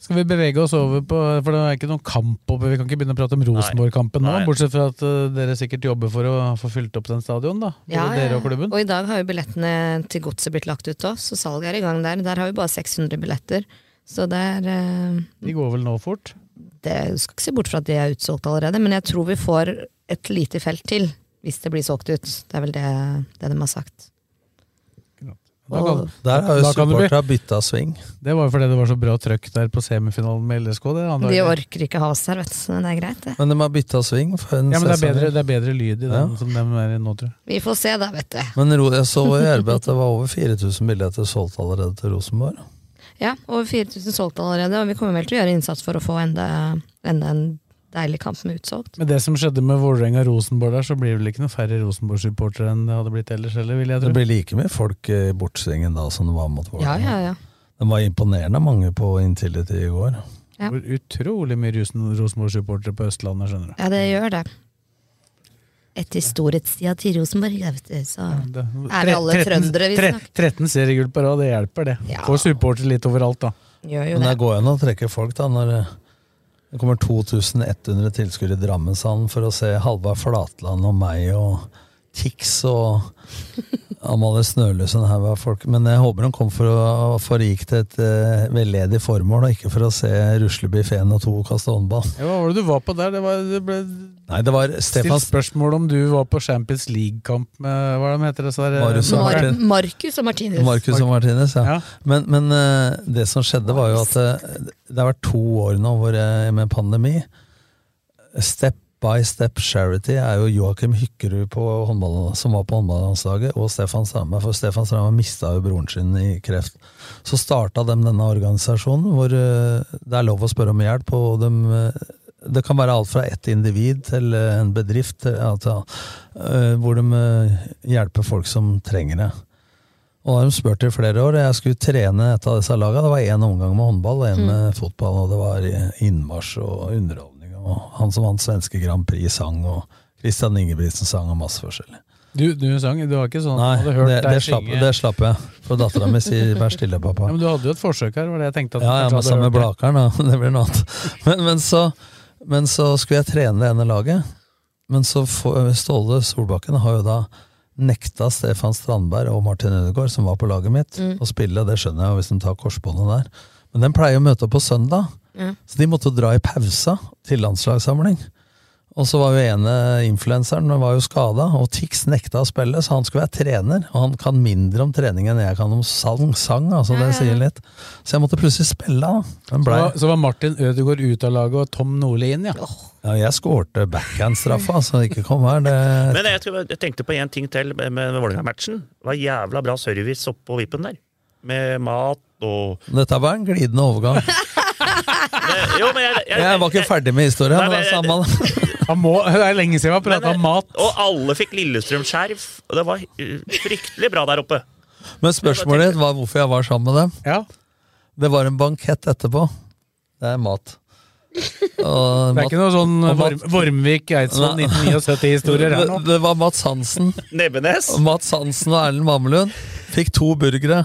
E: Skal vi bevege oss over på For det er ikke noen kamp oppe. Vi kan ikke begynne å prate om Rosenborg-kampen nå,
D: Nei.
E: bortsett fra at eh, dere sikkert jobber for å få fylt opp den stadion, da. Både
G: Ja, ja,
E: dere
G: ja.
E: og klubben.
G: Og i dag har jo billettene til godset blitt lagt ut òg, så salget er i gang der. Der har vi bare 600 billetter. Så det er eh,
E: De går vel nå fort?
G: det, Du skal ikke se bort fra at de er utsolgt allerede, men jeg tror vi får et lite felt til hvis det blir solgt ut. Det er vel det, det de har sagt.
E: Da kan-
F: Der har jo
E: da kan det bli.
F: supporterne bytta sving.
E: Det var jo fordi det var så bra trøkk der på semifinalen med LSK. Det,
G: De
E: antagelig.
G: orker ikke ha oss her, vet du, så det er greit, det.
F: Men de har bytta sving. For en
E: ja, men det er,
F: sesong.
E: bedre, det er bedre lyd i den
F: Ja.
E: som dem er i nå, tror jeg.
G: Vi får se da, vet du.
F: Men Ro- jeg så i RB at det var over 4000 billetter solgt allerede til Rosenborg.
G: Ja, over 4000 solgt allerede, og vi kommer vel til å gjøre innsats for å få enda, enda en deilig kamp med utsolgt.
E: Med det som skjedde med Vålerenga-Rosenborg der, så blir det vel ikke noe færre Rosenborg-supportere enn det hadde blitt ellers heller, vil jeg
F: Det
E: tro.
F: blir like mye folk eh, i bortsvingen da som det var mot
G: Ja,
F: Vålerenga.
G: ja, ja.
F: De var imponerende mange på Intility i går.
G: ja.
E: Det blir utrolig mye Rosen- Rosenborg-supportere på Østlandet, skjønner du.
G: Ja, det gjør det. Etter storhetstida til Rosenborg, ja, vet du, så
E: Det,
G: Er vi alle trøndere, vi
E: 13, 13 seriegull på rad, det hjelper det.
G: Ja.
E: Får supportere litt overalt, da.
G: gjør jo
F: Men
G: det.
F: det går an å trekke folk da når eh, det kommer 2100 tilskuere i Drammenshallen for å se Halvard Flatland og meg og Tix og Amalie Snøløs og en haug av folk. Men jeg håper de kom for å forrike til et eh, veldedig formål, og ikke for å se Rusleby Feen og to kaste håndball.
E: Ja, hva var det du var på der? Det, var, det ble
F: Nei, det var Stefan
E: stilt spørsmål om du var på Champions League-kamp med Hva er det de heter disse der?
F: Marius og
G: Mar
F: Martin.
G: Markus og Martinus.
F: Marcus og Martinez, ja.
E: Ja.
F: Men, men eh, det som skjedde, var jo at eh, det har vært to år nå hvor, eh, med pandemi. Step by Step Charity er jo Joakim Hykkerud på håndball, som var på håndballandslaget, og Stefan Strandberg. For Stefan Strandberg mista jo broren sin i kreft. Så starta de denne organisasjonen, hvor eh, det er lov å spørre om hjelp. og de, eh, det kan være alt fra ett individ til eh, en bedrift, til- ja, til, eh, hvor de eh, hjelper folk som trenger det. Og har de spurt i flere år. Jeg skulle trene et av disse lagene. Det var én omgang med håndball og én med fotball, og det var innmarsj og underholdning. Og han som vant svenske Grand Prix sang, og Christian Ingebrigtsen sang, og masse forskjellig.
E: Du, du sang, du var ikke sånn at
F: Nei,
E: du hadde hørt
F: det,
E: deg
F: det, slapp,
E: synge-
F: det slapp jeg. For dattera mi sier 'vær stille, pappa'.
E: Ja, men du hadde jo et forsøk her, var det jeg tenkte at du
F: Ja, ja,
E: kanskje
F: men
E: hadde
F: sammen med
E: hørt det.
F: Blakeren, da. Det blir noe annet. Men, men, så, men så skulle jeg trene det ene laget. Men så får Ståle eh, Solbakken har jo da nekta Stefan Strandberg og Martin Ødegaard, som var på laget mitt,
G: Mm.
F: å spille. Det skjønner jeg, hvis de tar korsbåndet der. Men den pleier å møte opp på søndag,
G: Ja.
F: så de måtte dra i pausa til landslagssamling. Og så var jo ene influenseren den var jo skada, og Tix nekta å spille, så han skulle være trener. Og han kan mindre om trening enn jeg kan om sang, sang altså det sier litt. Så jeg måtte plutselig spille, da. Den
E: Så
F: blei
E: var, så var Martin Ødegaard ut av laget og Tom Nordli inn, ja.
F: Ja, jeg skårte backhand-straffa, så ikke kom her. Det
D: Men jeg, tror- jeg tenkte på en ting til med, med Vålerenga-matchen. Det var jævla bra service oppå vippen der. Med mat og
F: Dette var en glidende overgang.
D: Jo, men jeg, jeg,
F: Jeg var ikke ferdig med historien.
D: Nei,
F: det
D: men
F: var
D: jeg-
F: samme det.
E: det er lenge siden vi har prata om mat.
D: eh, Og alle fikk Lillestrøm-skjerf. Og det var eh, fryktelig bra der oppe.
F: Men spørsmålet ditt var hvorfor jeg var sammen med dem. Det var en bankett etterpå. Det er mat. Og
E: Det er
F: mat-
E: ikke noe sånn
F: og mat-
E: Vorm- Vormvik Eidsvoll
F: Nei.
E: 1979-historier her
F: Det,
E: nå.
F: det var Mats Hansen.
D: Nebbenes.
F: Og Mats Hansen og Erlend Mammelund fikk to burgere.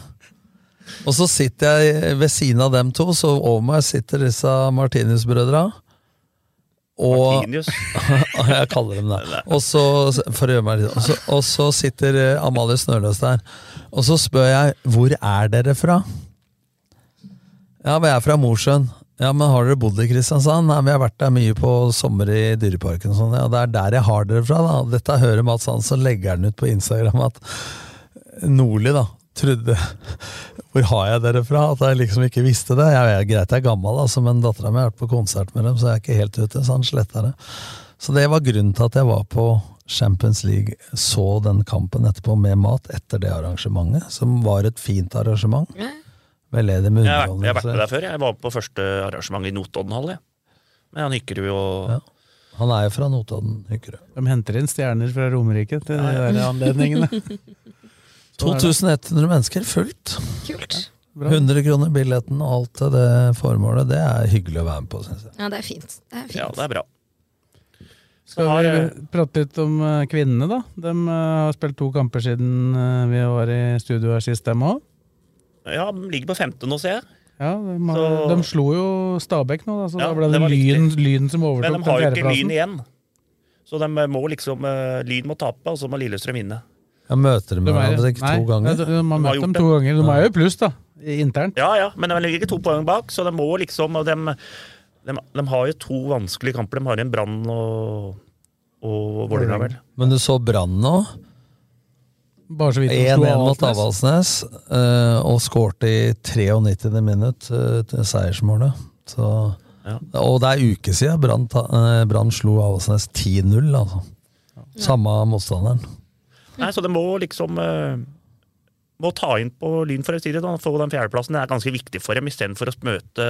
F: Og så sitter jeg ved siden av dem to, så over meg sitter disse Martinius-brødra. Og
D: Martinius.
F: jeg kaller dem det. Og så, for å gjøre meg litt, og så, og så sitter eh, Amalie Snørløs der. Og så spør jeg 'Hvor er dere fra?' Ja, men jeg er fra Mosjøen. Ja, men har dere bodd i Kristiansand? Nei, men jeg har vært der mye på sommer i Dyreparken og sånn. Ja, det er der jeg har dere fra, da. Dette hører Mats Hansen, legger han ut på Instagram at Nordli, da, trodde Hvor har jeg dere fra? At jeg liksom ikke visste det. Jeg er greit jeg er gammel, altså, men dattera mi har vært på konsert med dem, så jeg er ikke helt ute, så han sletta det. Så det var grunnen til at jeg var på Champions League, så den kampen etterpå med mat etter det arrangementet, som var et fint arrangement. Veldedig med
D: Jeg har, vært, jeg har vært med
F: underholdning.
D: der før. Jeg var på første arrangement i Notoddenhall. jeg. Med han Hykkerud og
F: Han er jo fra Notodden, Hykkerud.
E: De henter inn stjerner fra Romerike til de
D: Ja,
E: der
D: ja.
E: anledningene.
F: 2100 mennesker fullt.
G: Kult.
F: 100 kroner billetten og alt til det formålet. Det er hyggelig å være med på, syns jeg.
G: Ja, det er fint. Det er fint.
D: Ja, det er bra.
E: Skal
D: har,
E: vi
D: eh,
E: prate litt om eh, kvinnene, da? De eh, har spilt to kamper siden eh, vi var i studio her sist, dem òg.
D: Ja, de ligger på femte nå, ser jeg.
E: Ja, de, har,
D: Så-
E: de slo jo Stabæk nå, da, så
D: Ja,
E: da ble
D: det
E: det,
D: var
E: lyn, lyn som
D: Men de
E: overtok den
D: har jo ikke
E: fjerdeplassen.
D: Lyn igjen. Så de må liksom eh, Lyn må tape, og så må Lillestrøm vinne.
F: Jeg møter dem
E: De er-
F: hverandre ikke
E: nei,
F: to ganger.
E: De, de, har møtt
D: gjort
E: dem
D: det.
E: to ganger. De er jo i pluss, da. i- Internt.
D: Ja, ja, men de ligger to poeng bak, så de må liksom og de, de, de har jo to vanskelige kamper. De har en Brann og, og Vålerenga, vel.
E: Mm.
F: Men du så Brann nå.
E: Bare så vidt de slo
F: 1-1 mot
E: Avaldsnes.
F: Avaldsnes, eh, og skårte i 93. minutt eh, til seiersmålet. Så, Og det er uke siden Brann ta- eh, Brann slo Avaldsnes 10-0, altså. Samme motstanderen.
D: Nei, så det må liksom eh, Må ta inn på Lyn for å si det, da. Få den fjerdeplassen. Det er ganske viktig for dem, istedenfor å møte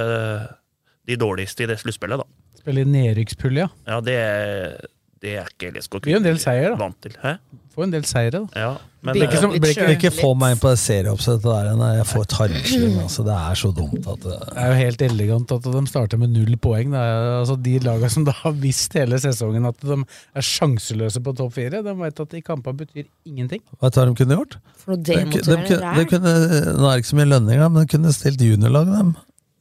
D: de dårligste i det sluttspillet, da.
E: Spiller i nedrykkspulja.
D: Ja, det, er- det er ikke LSK
E: Blir jo en del seier, da.
D: vant til. Hæ?
E: Får en del seire, da.
D: Ja, men
E: Blir ikke
D: eh,
E: som- blir
F: Ikke, ikke få meg inn på det serieoppsettet der nei, Jeg får tarmslyng, altså. Det er så dumt at eh, det
E: Det er jo helt elegant at de starter med null poeng. Det er, altså, de lagene som da har visst hele sesongen at de er sjanseløse på topp fire, de vet at de kampene betyr ingenting.
F: Vet du hva de kunne gjort?
G: For noe
F: De, ku- de, ku-
G: demotiverende
F: de
G: det er.
F: kunne, nå er det ikke så mye lønninger, da, men de kunne stilt juniorlag, dem.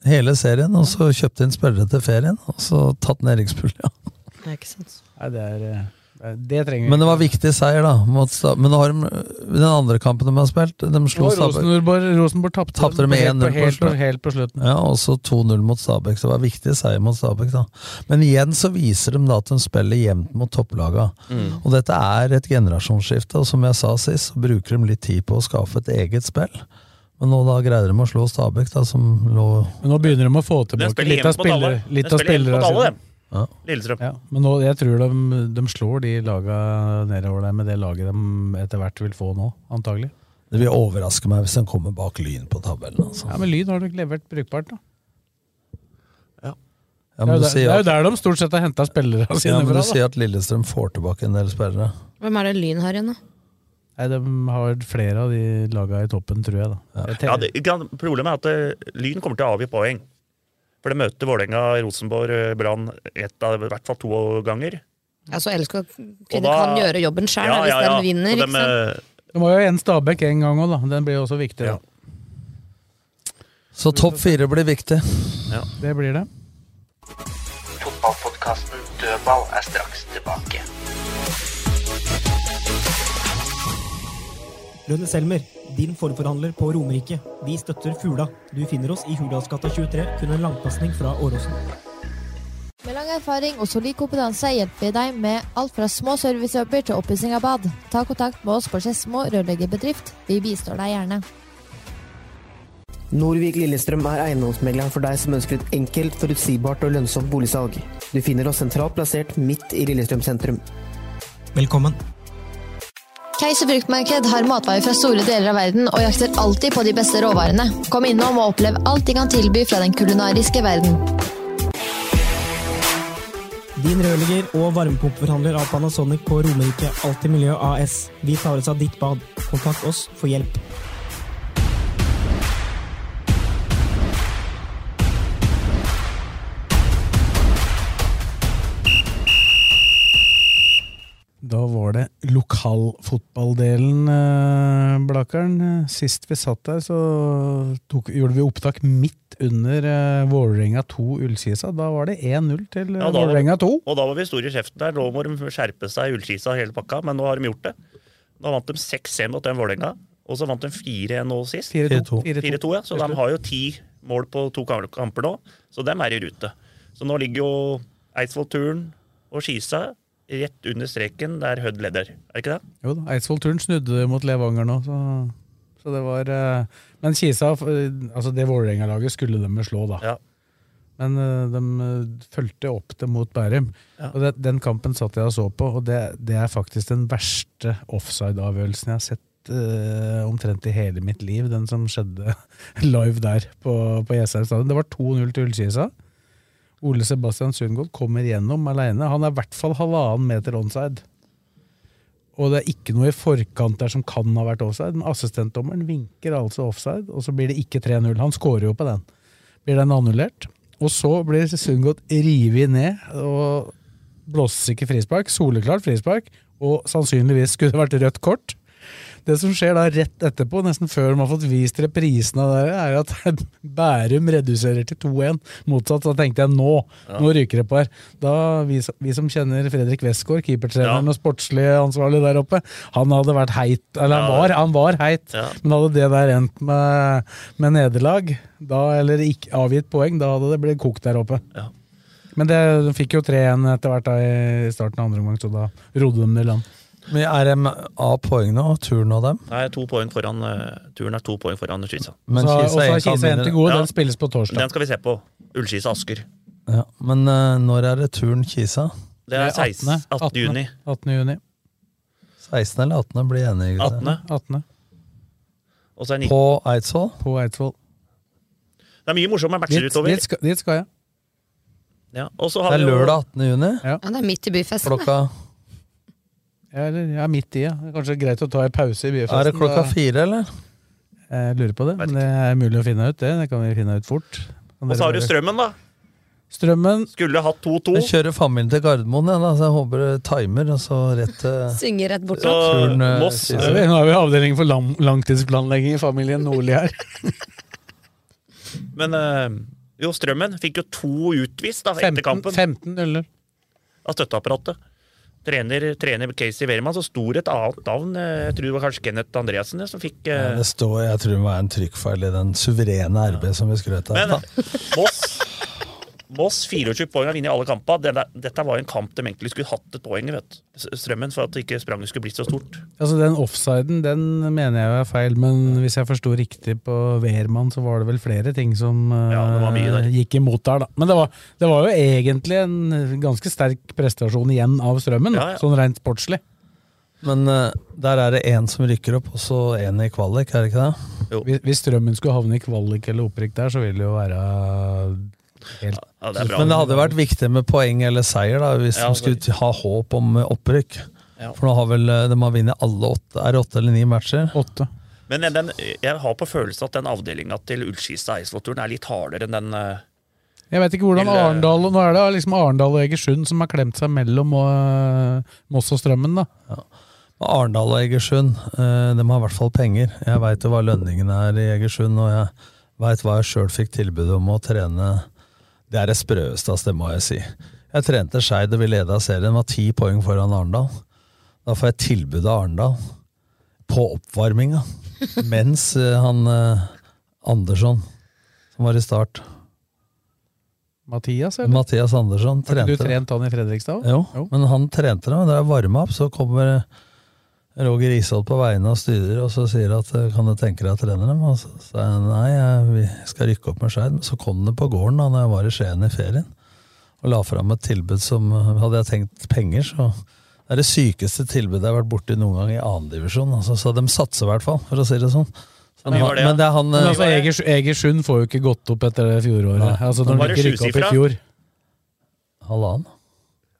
F: Hele serien, og så kjøpt inn spillere til ferien, og så tatt næringspulja.
G: Det er ikke sant.
E: Nei, det, er, eh, det er- det trenger vi
F: Men det
E: ikke.
F: var viktig seier, da. Mot Sta- men nå har de, den andre kampen de har spilt, de slo
E: Og
F: Stabæk.
E: Rosenborg, Rosenborg tapte
F: Tapte de
E: dem helt
F: 1-0 på
E: helt,
F: slutten.
E: helt på slutten.
F: Ja, og så 2-0 mot Stabæk. Så det var viktig seier mot Stabæk, da. Men igjen så viser de da at de spiller jevnt mot topplaga.
D: Mm.
F: Og dette er et generasjonsskifte, og som jeg sa sist, så bruker de litt tid på å skaffe et eget spill. Men nå da greide de å slå Stabæk, da, som lå
E: Men nå begynner de å få tilbake
D: spiller
E: litt av
D: hjemme mot alle.
E: spillere. Litt
D: De
E: av
D: spiller hjemme
E: spillere
D: mot alle,
E: sine.
D: dem.
F: ja.
D: Lillestrøm.
E: Ja, men nå, jeg tror de, de slår de laga nedover der med det laget de etter hvert vil få nå, antagelig.
F: Det vil overraske meg hvis de kommer bak Lyn på tabellen, altså.
E: Ja, Men Lyn har nok levert brukbart, da.
F: Ja,
E: det, er
F: men
E: jo
F: du
E: der, det
F: sier
E: er jo
F: at,
E: der de stort sett har henta spillerne sine
F: ja, men
E: fra.
F: du
E: da.
F: sier at Lillestrøm får tilbake en del spillere.
G: Hvem er det Lyn har igjen, da?
E: Nei, de har flere av de laga i toppen, tror jeg. da. Jeg
D: Ja,
E: tenker-
D: det, gran- problemet er at eh, Lyn kommer til å avgi poeng. For de møter Vålerenga, Rosenborg, eh, Brann ett av i hvert fall to ganger.
G: Altså, LSK
D: Og
G: kunne,
D: da-
G: kan gjøre jobben sjøl hvis den vinner.
D: Så
G: ikke sant?
D: eh,
E: De har jo en Stabæk en gang òg, da. Den blir jo også viktig. da.
F: Så topp fire blir viktig.
E: Det blir det.
H: Fotballpodkasten Dødball er straks tilbake.
B: Rønne Selmer, din forforhandler på Romerike. Vi støtter Fula. Du finner oss i Hurdalsgata 23, kun en langpasning fra Åråsen.
C: Med lang erfaring og solid kompetanse hjelper vi deg med alt fra små servicejobber til oppussing av bad. Ta kontakt med oss på Skedsmo rørleggerbedrift. Vi bistår deg gjerne.
A: Norvik Lillestrøm er eiendomsmegleren for deg som ønsker et enkelt, forutsigbart og lønnsomt boligsalg. Du finner oss sentralt plassert midt i Lillestrøm sentrum.
B: Velkommen.
C: Keiser fruktmarked har matvarer fra store deler av verden og jakter alltid på de beste råvarene. Kom innom og opplev alt de kan tilby fra den kulinariske verden.
B: Din rørlegger og varmepumpeforhandler av Panasonic på Romerike Alltid Miljø AS. Vi tar oss av ditt bad. Kontakt oss for hjelp.
E: Da var det lokalfotballdelen, eh, Blakeren. Sist vi satt der, så tok, gjorde vi opptak midt under eh, Vålerenga 2 Ullkisa. Da var det 1-0 til eh,
D: Ja, da var-
E: Vålerenga 2.
D: Og da var vi store i kjeften der. Nå må de skjerpe seg i Ullkisa og hele pakka, men nå har de gjort det. Nå vant de 6-1 mot den Vålerenga, og så vant de 4-1 nå sist.
E: 4-2.
D: 4-2, ja. Så de har jo ti mål på to kam- kamper nå, så dem er i rute. Så nå ligger jo Eidsvoll-Turn og Skisa rett under streken der Hødd leder, er ikke det?
E: Jo da, Eidsvoll Turn snudde mot Levanger nå, så, så det var eh, Men Kisa, eh, altså det Vålerenga-laget skulle de slå, da. Men eh, de eh, fulgte opp det mot Bærum.
D: Ja.
E: Og det, den kampen satt jeg og så på, og det, det er faktisk den verste offside-avgjørelsen jeg har sett eh, omtrent i hele mitt liv. Den som skjedde live der på, på Jessheim stadion. Det var 2-0 til Ullkisa. Ole Sebastian Sundgodt kommer gjennom alene. Han er i hvert fall halvannen meter onside. Og det er ikke noe i forkant der som kan ha vært offside, men assistentdommeren vinker altså offside, og så blir det ikke 3-0. Han scorer jo på den. Blir den annullert. Og så blir Sundgodt revet ned, og blåses ikke frispark. Soleklart frispark, og sannsynligvis skulle det vært rødt kort. Det som skjer da rett etterpå, nesten før de har fått vist reprisen av det, her, er at Bærum reduserer til 2-1. Motsatt, da tenkte jeg nå!
D: Ja.
E: Nå ryker det på her. Da, vi, som- vi som kjenner Fredrik Westgård, keepertreneren og sportslig ansvarlig der oppe, han hadde vært heit. Eller han
D: Ja.
E: var, han var heit, men hadde det der endt med, med nederlag, da, eller ikke avgitt poeng, da hadde det blitt kokt der oppe.
D: Ja.
E: Men det, de fikk jo 3-1 etter hvert da, i starten av andre omgang, så da rodde de det i land.
F: Men er de av poengene og turen av dem?
D: Nei, to poeng foran eh, Turn er to poeng foran Skisa.
F: Men Så- Kisa og så er er Kisa kamp en til mindre. gode, den
E: spilles på torsdag.
D: Den skal vi se på. Ullskisa-Asker.
F: Ja, men eh, når er returen Kisa?
D: Det er 16. 18. juni.
E: 18. juni.
F: 16. eller 18. blir enige. gutter.
D: 18. Og så er 19.
F: På Eidsvoll?
E: På Eidsvoll.
D: Det er mye morsomme matcher
E: Dit-
D: utover.
E: dit skal- dit skal jeg.
D: Ja, og så
F: Det
D: har
F: er
D: vi jo-
F: lørdag 18. juni.
G: Ja, det er midt i byfesten. det.
F: Klokka,
E: Ja, eller, ja, midt i, ja. Det er Kanskje greit å ta en pause i byfesten.
F: er det klokka
E: da.
F: fire, eller?
E: Jeg lurer på det, men det er mulig å finne ut det. Det kan vi finne ut fort. Kan
D: Og
E: dere
D: så har du
E: bare-
D: Strømmen, da.
E: Strømmen.
D: Skulle hatt 2-2.
F: Jeg kjører familien til Gardermoen, jeg, da, så jeg håper det timer, og så rett til
G: Synger rett bort.
D: Så
F: Turen, eh,
D: Moss
E: Nå er vi- Nå er vi i avdelingen for lang, langtidsplanlegging i familien Nordli her.
D: Men eh, jo, Strømmen fikk jo to utvist da, etter
E: 15
D: kampen
E: 15-0.
D: av støtteapparatet. Trener, trener Casey Wehrmann, så sto det et annet navn. eh, Jeg tror det var kanskje Kenneth Andreassen det, som fikk eh,
F: Det står, Jeg tror det var en trykkfeil i den suverene RB som vi skrøt av.
D: Men Moss Moss 24 poeng har vunnet alle kamper. Denne, dette var en kamp de egentlig skulle hatt et poeng i, vet du. S- Strømmen, for at ikke spranget skulle blitt så stort.
E: Altså Den offsiden den mener jeg jo er feil, men hvis jeg forsto riktig på Wehrmann, så var det vel flere ting som eh,
D: det var mye der.
E: gikk imot der. da. Men det var, det var jo egentlig en ganske sterk prestasjon igjen av Strømmen, da,
D: Ja, ja.
E: sånn rent sportslig.
F: Men eh, der er det én som rykker opp, og så én i kvalik, er det ikke det?
E: Hvis, hvis Strømmen skulle havne i kvalik eller opprykk der, så ville det jo være helt
D: Ja, det er bra.
F: Men det hadde vært viktig med poeng eller seier da, hvis
D: Ja,
F: de skulle ha håp om eh, opprykk.
D: Ja.
F: For nå har vel eh, de har vunnet alle åtte, er det åtte eller ni matcher?
E: åtte.
D: Men den- den, jeg har på følelsen at den avdelinga til Ullskista Eidsvollturen er litt hardere enn den eh,
E: Jeg vet ikke hvordan
D: Eller-
F: eh,
E: Arendal Nå er det liksom Arendal og Egersund som har klemt seg mellom eh, Moss og Strømmen, da.
F: Arendal og Egersund, eh, de har i hvert fall penger. Jeg veit jo hva lønningen er i Egersund, og jeg veit hva jeg sjøl fikk tilbud om å trene. Det er det sprøeste, ass, det må jeg si. Jeg trente Skeid, og vi leda serien, var ti poeng foran Arendal. Da får jeg tilbud av Arendal. på oppvarminga. Mens eh, han eh, Andersson, som var i start
E: Mathias, eller?
F: Mathias Andersson
E: Har ikke
F: trente
E: du trent han i Fredrikstad?
F: Jo, men han trente dem, og da jeg varma opp, så kommer Roger Isholt på vegne og styrer, og så sier at eh, kan du tenke deg å trene dem? Og så sa jeg nei, jeg, vi skal rykke opp med Skeid. Men så kom det på gården da når jeg var i Skien i ferien, og la fram et tilbud som eh, Hadde jeg tenkt penger, så det er det sykeste tilbudet jeg har vært borti noen gang i annendivisjon. Altså, så de satser i hvert fall, for å si det sånn.
E: Men
F: Men,
E: var det, ja.
F: han- men det er han
E: Men
F: eh,
E: altså, Egers- Egersund får jo ikke gått opp etter det fjoråret.
F: Nei.
E: Altså, når
F: Var
E: de
F: det
E: ikke rykket opp i
F: sjusifra?
E: fjor.
F: Halvannen.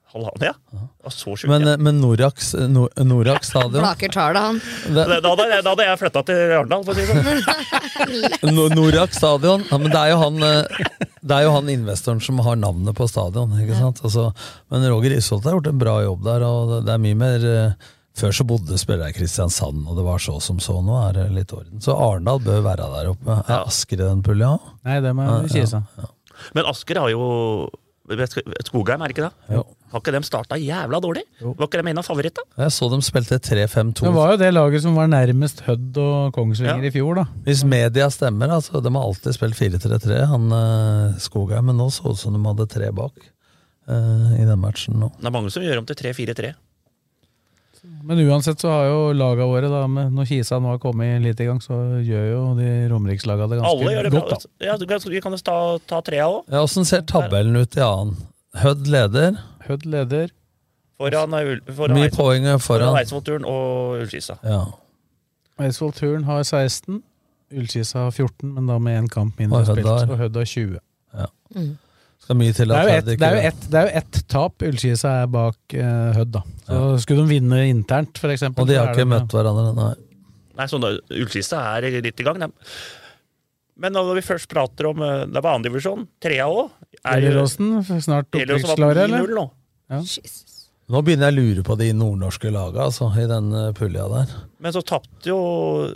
D: Halvannen, ja. Det var så sjukt.
F: Men, eh, men Norax, Nor- Norax stadion
G: Blaker tar det, han.
D: Da, da, hadde jeg- da hadde jeg flytta til Arendal, for å si det sånn.
F: No- Norak stadion. Ja, men det er jo han eh, Det er jo han investoren som har navnet på stadion. Ikke sant? Altså, men Roger Isholt har gjort en bra jobb der. Og det- det er mye mer eh, Før så bodde spillere i Kristiansand, og det var så som så. Nå er det litt orden. Så Arendal bør være der oppe. Er Asker i den pulja?
E: Nei, det må jeg si seg.
D: Men Asker har jo vet du, Skogheim, er det ikke det? Har ikke dem starta jævla dårlig? Var ikke dem en av favorittene?
F: Jeg så dem spilte 3-5-2.
E: Det var jo det laget som var nærmest Hødd og Kongsvinger i fjor, da.
F: Hvis media stemmer, altså, de har alltid spilt 4-3-3, han eh, Skogheim, men nå så det ut som de hadde tre bak eh, i den matchen nå.
D: Det er mange som gjør om til 3-4-3.
E: Men uansett så har jo laga våre, da, med, når Kisa nå har kommet litt i gang, så gjør jo de romerikslaga det ganske
D: Alle gjør det
E: godt.
D: bra.
F: altså.
D: Ja, du kan- vi kan jo ta, ta trea òg.
F: Ja, Åssen ser tabellen ut i annen? Hødd leder.
E: Hødd leder.
D: Foran, Ul- foran
F: Mye
D: Eidsvoll-
F: poeng foran.
D: Eidsvollturen og Ullskisa.
F: Ja.
E: da. Eidsvoll Turn har 16, Ullkisa har 14, men da med én kamp mindre
F: Og Hødd
E: spilt.
F: har-
E: Og Hødd har 20.
F: Skal mye til
E: Det
F: at
E: er jo
F: Hødd
E: ett
F: ikke-
E: det er jo ett- det er jo ett tap Ullkisa er bak eh, Hødd, da. Så Skulle de vinne internt, for eksempel
F: Og de
E: så
F: har
E: er
F: ikke
E: det-
F: møtt hverandre, nei.
D: Nei, sånn da, Ullkista er litt i gang, dem. Men når vi først prater om eh, Det var andredivisjon, trea òg.
E: Elleråsen, snart opprykksklare, eller? Ja.
F: Nå begynner jeg å lure på de nordnorske laga, altså, i den eh, pulja der.
D: Men så tapte jo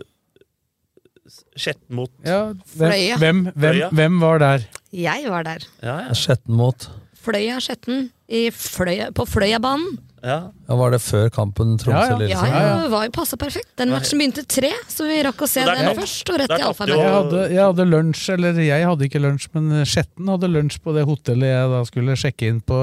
D: Skjetten mot
E: Ja,
G: Fløya.
E: Hvem, hvem,
D: Fløya.
E: hvem var der?
G: Jeg var der.
F: Skjetten mot.
G: Fløya Skjetten. i Fløya, på Fløyabanen.
F: Ja, var det før kampen
G: Ja, ja,
F: Tromsø-Lillesand?
G: det var jo passa perfekt. Den matchen begynte tre, så vi rakk å se
D: Der
G: den
D: kom-
G: først, og rett
D: der
G: i
D: kom
G: alfaen.
D: jo-
E: Jeg hadde, jeg hadde lunsj, eller jeg hadde ikke lunsj, men Skjetten hadde lunsj på det hotellet jeg da skulle sjekke inn på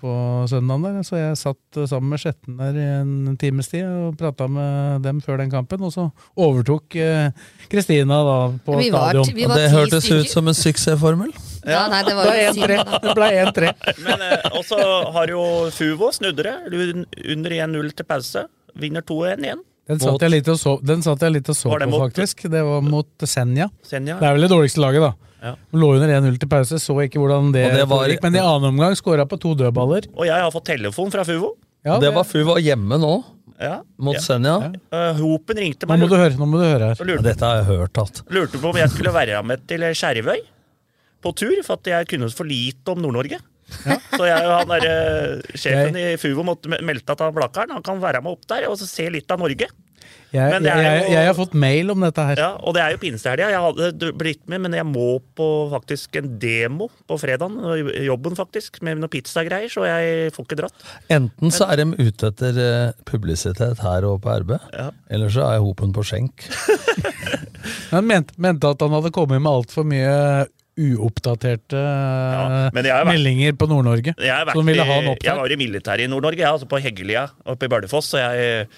E: på søndagen. der, Så jeg satt sammen med Skjetten der i en times tid og prata med dem før den kampen. Og så overtok eh, Kristina da på
G: Vi var-
E: stadion.
G: vi var Det ti hørtes stykker. ut
F: som en suksessformel.
G: Ja, nei, det var jo synd, da.
E: Det ble 1-3.
D: Men eh, også har jo Fuvo snudd det. Lun- Under 1-0 til pause. Vinner 2-1 igjen.
E: Den satt jeg litt og så, den satt jeg litt og så
D: Var det
E: på,
D: mot-
E: faktisk. Det var mot Senja.
D: Senja.
E: Det er vel det dårligste laget, da.
D: Ja.
E: Lå under 1-0 til pause, så ikke hvordan det,
F: Og det var-
E: foregikk. Men i annen omgang skåra på to dødballer.
D: Og jeg har fått telefon fra Fuvo.
E: Ja,
F: det var før vi var hjemme nå,
D: Ja.
F: mot
D: Ja.
F: Senja.
D: Eh, Hopen ringte
E: Nå
D: meg
E: må du høre, nå må du høre her.
D: og lurte,
F: Dette har jeg hørt at
D: lurte på om jeg skulle være med til Skjervøy på tur, for at jeg kunne for lite om Nord-Norge. Så jeg, han der, eh, sjefen i Fuvo måtte me- meldte at han Blakeren han kan være med opp der og så se litt av Norge.
E: Jeg,
D: Men
E: jeg,
D: det er
E: jeg,
D: jo-
E: jeg har fått mail om dette her.
D: Ja, og det er jo pinsehelga. Jeg hadde blitt med, men jeg må på faktisk en demo på fredagen. i Jobben, faktisk, med noen pizzagreier, så jeg får ikke dratt.
F: enten så er de ute etter eh, publisitet her og på RB, eller så er hopen på skjenk.
E: Han mente, mente at han hadde kommet med altfor mye uoppdaterte eh,
D: men jeg har vært-
E: meldinger på Nord-Norge.
D: Jeg, har vært
E: Så han ville ha
D: i-
E: han
D: jeg
E: opptatt.
D: var i militæret i Nord-Norge, jeg, altså på Heggelia oppe i Bardufoss. Så jeg,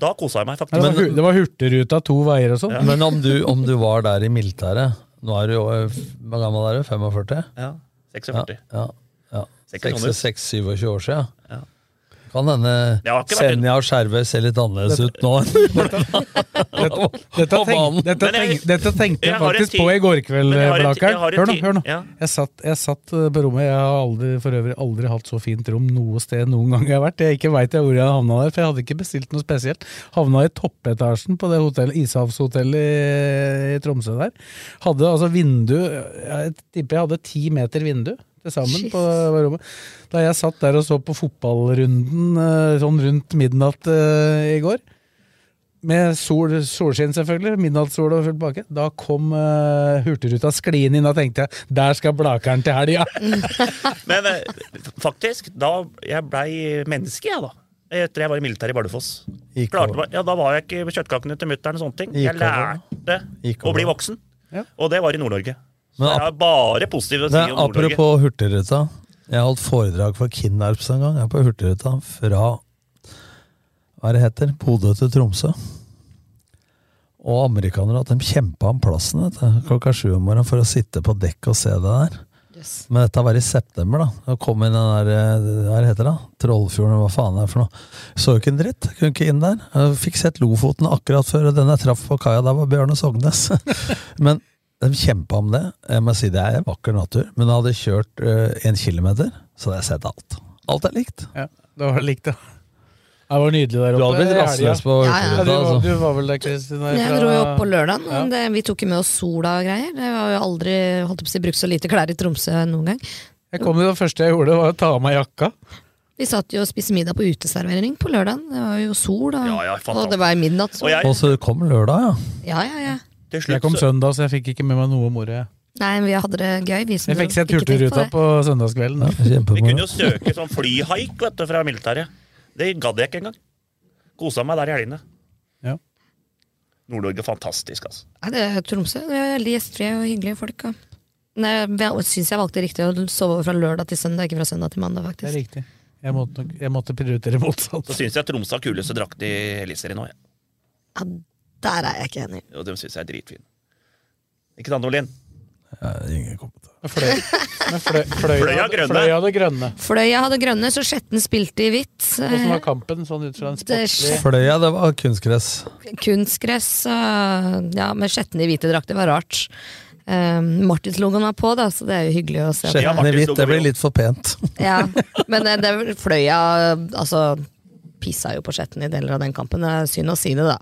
D: da kosa jeg meg
E: Det
D: faktisk.
E: var, hu- det var Hurtigruta to veier og sånn.
F: Men om du, om du var der i militæret Nå er du jo eh, Hvor gammel er du? 45?
D: ja, 46.
F: Ja, ja.
D: Sikkert sånn ut.
F: 26-27 år siden.
D: Ja.
F: Kan hende
D: Det har ikke vært en-
F: Senja og Skjervøy ser litt annerledes ut nå.
E: Dette, dette,
F: På
E: tenk,
F: banen.
E: dette,
D: Men jeg-
E: tenk, dette
D: jeg
E: tenkte jeg
D: har en
E: faktisk
D: ti-
E: på i går kveld,
D: Men jeg har en ti-
E: Blakeren.
D: jeg har en
E: eh, Hør nå.
D: ti-
E: hør nå.
D: ja.
E: Jeg, satt, jeg satt eh, på rommet. Jeg har aldri, for øvrig aldri hatt så fint rom noe sted noen gang jeg har vært. Jeg ikke veit hvor jeg havna der, for jeg hadde ikke bestilt noe spesielt. Havna i toppetasjen på det hotellet, ishavshotellet i, i Tromsø der. Hadde altså vindu Jeg tipper jeg hadde ti meter vindu til sammen på rommet. Da jeg satt der og så på fotballrunden eh, sånn rundt midnatt eh, i går. Med sol, solskinn, selvfølgelig. Midnattssol og fullt bakke. Da kom eh, Hurtigruta skliende inn. Da tenkte jeg der skal Blakeren til helga!
D: Men eh, faktisk, da jeg blei menneske, jeg, da. Etter jeg var i militæret i Bardufoss.
F: Gikk
D: Klarte,
F: over.
D: meg- ja, da var jeg ikke på kjøttkakene til mutter'n og sånne ting. Jeg
F: Gikk
D: lærte
F: Gikk
D: å bli
F: over.
D: voksen, og det var i Nord-Norge. Så
F: Men
D: det er bare positivt å si
F: Det
D: om
F: er
D: Nord-Norge.
F: apropos Hurtigruta. Jeg holdt foredrag for Kinnarps en gang. Jeg er på Hurtigruta fra hva er det heter, Bodø til Tromsø. Og amerikanere at de kjempa om plassen vet du, klokka sju om morgenen for å sitte på dekk og se det der.
G: Yes.
F: Men dette var i september, da. Da kom inn den der eh, Hva heter det? da? Trollfjorden, hva faen det er for noe. Så jo ikke en dritt. Kunne ikke inn der. Jeg fikk sett Lofoten akkurat før den jeg traff på kaia. Der var Bjørne Sognes. men de kjempa om det. Jeg må si det er vakker natur. Men da hadde jeg kjørt eh, en kilometer, så hadde jeg sett alt. Alt er likt.
E: Ja, det var likt, ja. Det var nydelig der oppe.
F: Du hadde blitt
E: i helga.
F: rastløs på
G: Ja, ja.
E: Ja, du, var,
F: altså.
E: du var vel der, Kristin?
G: Jeg
E: fra-
G: dro jo opp på lørdagen.
E: Ja.
G: men Det, vi tok jo med oss sola og greier. Jeg har jo aldri holdt på å si, brukt så lite klær i Tromsø noen gang.
E: Jeg kom jo, Det første jeg gjorde, var å ta av meg jakka.
G: Vi satt jo og spiste middag på uteservering på lørdagen. Det var jo sol, og,
E: Ja, ja, fantastisk.
G: og det var midnattssol.
F: Og så kom lørdag, ja.
G: Ja, ja, ja.
E: jeg kom søndag, så jeg fikk ikke med meg noe om ordet.
G: Nei, men vi hadde det gøy. Vi som
E: Jeg fikk sett
G: ikke tenkte på
E: Hurtigruta
G: det.
E: på søndagskvelden.
D: Vi kunne jo søke sånn flyhaik vet du, fra militæret. Det gadd jeg ikke engang. Kosa meg der i helgene.
E: Ja.
D: Nord-Norge fantastisk, altså.
G: Nei, det er Tromsø. Det er veldig gjestfrie og hyggelige folk. ja. Nei, jeg syns jeg valgte riktig å sove fra lørdag til søndag, ikke fra søndag til mandag,
E: Det er
G: faktisk.
E: riktig. Jeg måtte, nok- jeg måtte prioritere motsatt.
D: Så syns jeg Tromsø har kuleste drakt i Eliteserien nå. Ja.
G: Der er jeg ikke enig.
D: Og de syns jeg er dritfin. Ikke sant, Olin?
F: Ingen kommentar.
E: Fløy, men fløy, fløy,
D: Fløya grønne.
E: Fløya det grønne.
G: Fløya hadde grønne, så Skjetten spilte i hvitt.
E: Hvordan var kampen sånn ut fra en
G: Det er
E: sportslig
F: Fløya, det var kunstgress.
G: kunstgress og ja, med skjetten i hvite drakter var rart. Um, Martinslogoen var på, da, så det er jo hyggelig å se. på.
F: Skjetten i hvitt, det blir litt for pent.
G: Ja, men eh, det, det fløya Altså, pissa jo på skjetten i deler av den kampen. Det er synd å si det, da.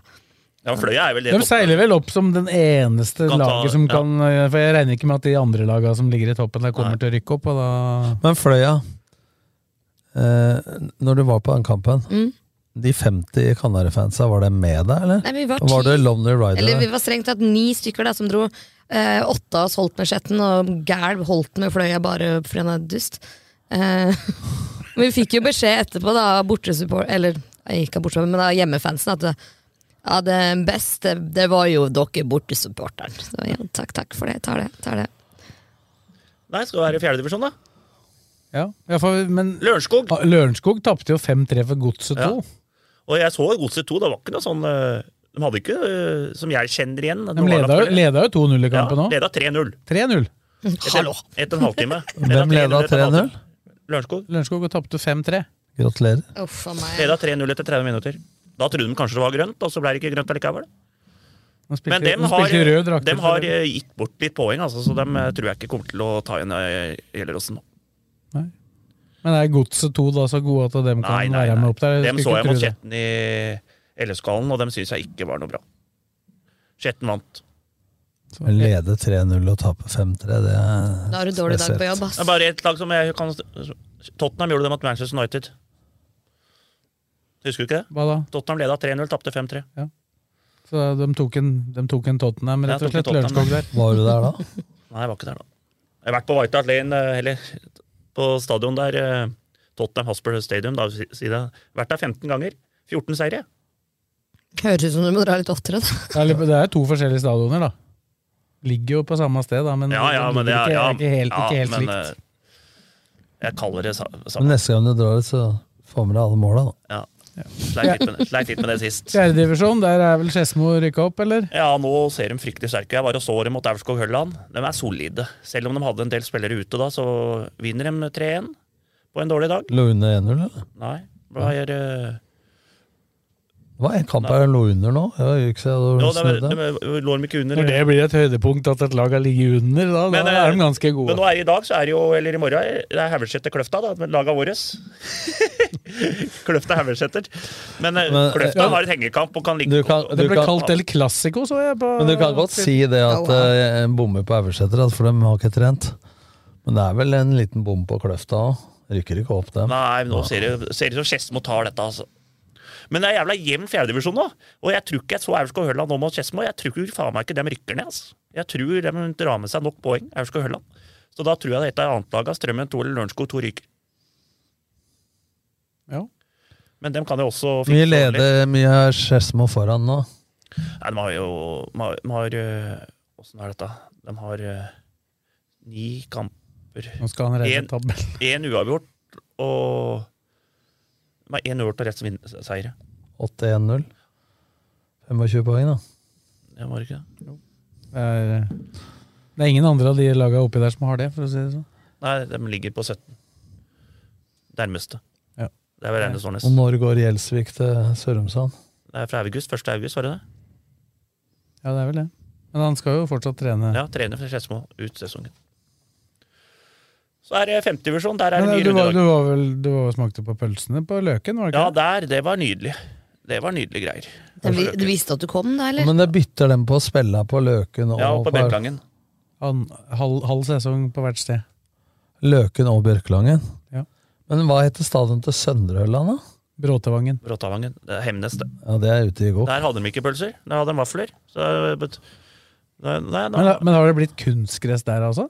D: Ja, Fløya er vel det
E: De seiler vel opp som den eneste
D: Kan ta-
E: laget som
D: ja.
E: kan eh, For jeg regner ikke med at de andre lagene som ligger i toppen, der kommer til å rykke opp. Og da
F: Men Fløya, eh, når du var på den kampen, de 50 Kanarifansa, var det med deg, eller?
G: Nei, vi var
F: var
G: ti.
F: det Lonely Rider?
G: Eller vi
F: der?
G: var strengt tatt ni stykker da, som dro. Eh, åtte av oss holdt med skjetten, og Gæl holdt med fløya bare fordi han er dust. Eh, men vi fikk jo beskjed etterpå da, av bortesupport, eller eh, ikke av bortesupporter, men av hjemmefansen, at det, ja, det beste det var jo dere bortesupporteren. Så ja, takk, takk for det. Jeg Tar det. jeg Tar det.
D: Nei, skal være i fjerdedivisjon, da.
E: Ja, ja for, men
D: Lørenskog
E: Ah, Lørenskog tapte jo 5-3 for Godset 2.
D: Og jeg så Godset 2, det var ikke noe sånn eh, De hadde ikke, eh, som jeg kjenner igjen
E: De leda jo, leda jo 2-0 i kampen òg.
D: Leda 3-0.
E: 3-0.
D: Etter, etter en halvtime.
F: Hvem leda 3-0?
D: Lørenskog.
E: Lørenskog og tapte 5-3.
F: Gratulerer.
D: Leda 3-0 etter 30 minutter. Da trodde de kanskje det var grønt, og så ble det ikke grønt allikevel.
E: De spilte,
D: Men dem
E: de
D: har,
E: spilte i rød drakt.
D: dem har eh, gitt bort litt poeng, altså, så dem eh, tror jeg ikke kommer til å ta igjen eh, Gjelleråsen nå.
E: Men er Godset 2 da så gode at de kan
D: Nei, nei,
E: være med opp der?
D: Dem så
E: skulle ikke
D: jeg mot
E: tro det.
D: Skjetten i LS-kvalen, og dem syns jeg ikke var noe bra. Skjetten vant.
F: Men Lede 3-0 og tape 5-3, det er
G: Da har du dårlig dag på jobb, ass.
D: Det er bare ett lag som jeg kan Tottenham gjorde det mot Manchester United. Husker du ikke det?
E: Hva da?
D: Tottenham leda 3-0, tapte 5-3.
E: Så de tok en, de tok en Tottenham,
D: Ja,
E: rett og
D: tok en
E: slett. Lørenskog
D: Tottenham.
E: der.
F: Var du der da?
D: Nei, jeg var ikke der da. Jeg har vært på White Hart Lane, eh, eller på stadion der, eh, Tottenham Hotspur Stadium, da, si si det. Vært der 15 ganger. 14 seire.
G: Høres ut som du må dra litt oftere, da.
E: Det er, litt- det er jo to forskjellige stadioner, da. Ligger jo på samme sted, da, men,
D: Ja, ja, men det er
E: ligger
D: ja,
E: Mm, ikke, ikke helt, ikke
D: ja,
E: helt
D: men,
E: likt.
D: eh, Jeg kaller det sa-
F: Men
D: samme.
F: neste gang du drar ut, så får med deg alle måla, da.
D: Ja. Sleit litt med det- sleit litt med det sist.
E: Fjerdedivisjon, der er vel Skedsmo rykka opp, eller?
D: Ja, nå ser de fryktelig sterke. Jeg var og så dem mot Aurskog Hølland. De er solide. Selv om de hadde en del spillere ute da, så vinner de 3-1 på en dårlig dag.
F: Lå under 1-0, eller?
D: Nei, hva er eh,
F: Det var en kamp jeg lå under nå. Det var jo ikke så jeg
D: Jo,
F: hadde
D: de, de,
F: snudd det.
D: lå de ikke under.
E: Når det blir et høydepunkt at et lag har ligget under, da,
D: Men,
E: da
D: eh,
E: er de ganske
D: Men
E: gode.
D: nå er det i dag, så er det jo, eller i morgen, det er Haugeseter-Kløfta, da, med laga våres. Kløfta Haugeseter. Men, eh,
F: Men, eh,
D: Kløfta har et hengekamp og kan ligge
F: Du kan- du
E: det ble
F: kan-
E: kalt El Clásico, så jeg. På,
F: Men du kan godt si det at eh, en bommer på Aursæter, for de har ikke trent. Men det er vel en liten bom på Kløfta òg. Rykker ikke opp, dem.
D: Nei, nå ser det ser det ut som Skedsmo tar dette, altså. Men det er jævla jevn fjerdedivisjon nå. Og jeg tror ikke jeg så Aurskog Høland nå mot Skedsmo. Jeg tror ikke, faen meg ikke de rykker ned, altså. Jeg tror de drar med seg nok poeng, Aurskog Høland. Så da tror jeg dette er annetlaget av Strømmen 2 eller Lørenskog 2 ryker.
E: Ja.
D: Men dem kan jo også
F: Mye
D: fikse ordentlig.
F: leder, mye er Skedsmo foran nå.
D: Nei, de har jo de har, de har, øh, Hvordan er dette? De har øh, ni kamper
E: Nå skal han regne tabellen.
D: Én uavgjort og De har én uavgjort og rett som vin- seier.
F: 8-1-0. 25 poeng, da.
D: Det var ikke det?
E: Det er, eh, det er ingen andre av de laga oppi der som har det, for å si det sånn.
D: Nei, de ligger på 17. Nærmeste.
E: Ja.
D: Det er vel Reine Stornes.
F: Og når går Gjelsvik til Sørumsand?
D: Det er fra august. 1. august, var det det?
E: Ja, det er vel det. Men han skal jo fortsatt trene.
D: Ja, trener for Skedsmo ut sesongen. Så er det femtedivisjon. Der er
E: Men eh,
D: det ny
E: du, var, du,
D: rundedag.
E: var vel, du var, smakte på pølsene på Løken, var det
D: Ja,
E: ikke?
D: der. Det var nydelig. Det var nydelige greier.
G: Den vi- Du visste at du kom, da, eller?
F: Men det bytter dem på å spille på Løken og,
D: Ja, og på Bjørklangen.
E: An, halv, halv sesong på hvert sted.
F: Løken og Bjørklangen.
E: Ja.
F: Men hva heter stadion til Søndreøland, da?
E: Bråtevangen.
D: Bråtavangen. Det er Hemnes, det.
F: Ja, Det er ute i går.
D: Der hadde de ikke pølser. Der hadde de vafler. Så, eh, but, nei, nei,
E: Men,
D: da,
E: men har det blitt kunstgress der også?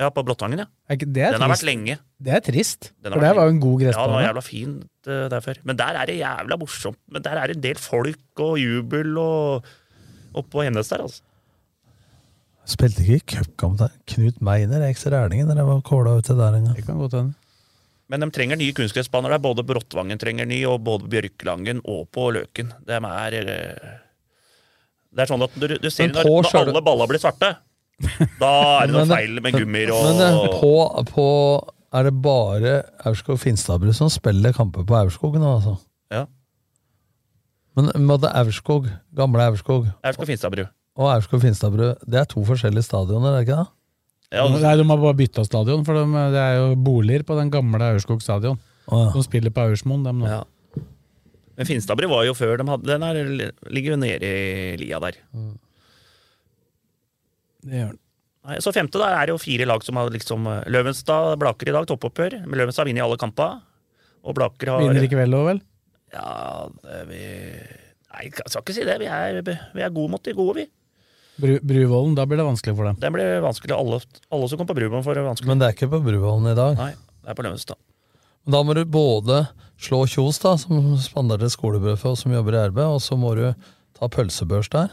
D: ja, på Blåttangen, ja.
E: Er ikke, det er
D: Den har vært
E: trist.
D: lenge.
E: Det er trist.
D: Den har
E: For
D: vært
E: det var jo
D: lenge.
E: en god
D: Ja, det var
E: gressbane.
D: jævla fint eh, der før. Men der er det jævla morsomt. Men der er det en del folk og jubel og oppå Hemnes der, altså.
F: Spilte ikke i cupkamp der. Knut Meiner, Ekser Erlingen, dere var kåla ute der en gang.
E: det kan godt hende.
D: Men de trenger nye kunstgressbaner der. Både Bråttvangen trenger ny, og både Bjørkelangen og på Løken. De er eh, Det er sånn at du, du ser
F: Men
D: når,
F: på
D: når
F: sjøle-
D: alle balla blir svarte, da er det noe feil med gummier og
F: Men eh, på, på er det bare Aurskog-Finstadbru som spiller kamper på Aurskog nå, altså?
D: Ja.
F: Men måtte Aurskog, gamle Aurskog
D: Aurskog Finstadbru.
F: og Aurskog-Finstadbru, det er to forskjellige stadioner, er det ikke det?
D: Ja, altså-
E: Nei, de har bare bytta stadion, for de, det er jo boliger på den gamle Aurskog stadion.
F: Å, ja.
E: De spiller på Aursmoen, dem nå.
D: Ja. Men Finstadbru var jo før de hadde Den er, ligger jo nede i lia der.
E: Det gjør de.
D: Nei, Så femte, da er det jo fire lag som har liksom eh, Løvenstad Blaker i dag, toppoppgjør. Men Løvenstad vinner i alle kamper. Og Blaker har
E: Vinner i kveld òg, vel?
D: Ja, det, vi Nei, jeg skal ikke si det. Vi er, vi er gode mot de gode, vi.
E: Bru, Bruvollen, da blir det vanskelig for dem.
D: Den ble vanskelig. Alle, alle som kom på Brumunn, får det vanskelig.
F: Men det er ikke på Bruvollen i dag.
D: Nei, det er på Løvenstad.
F: Da må du både slå Kjos, da, som spanderer et skolebrød for oss som jobber i RB, og så må du ta pølsebørs der.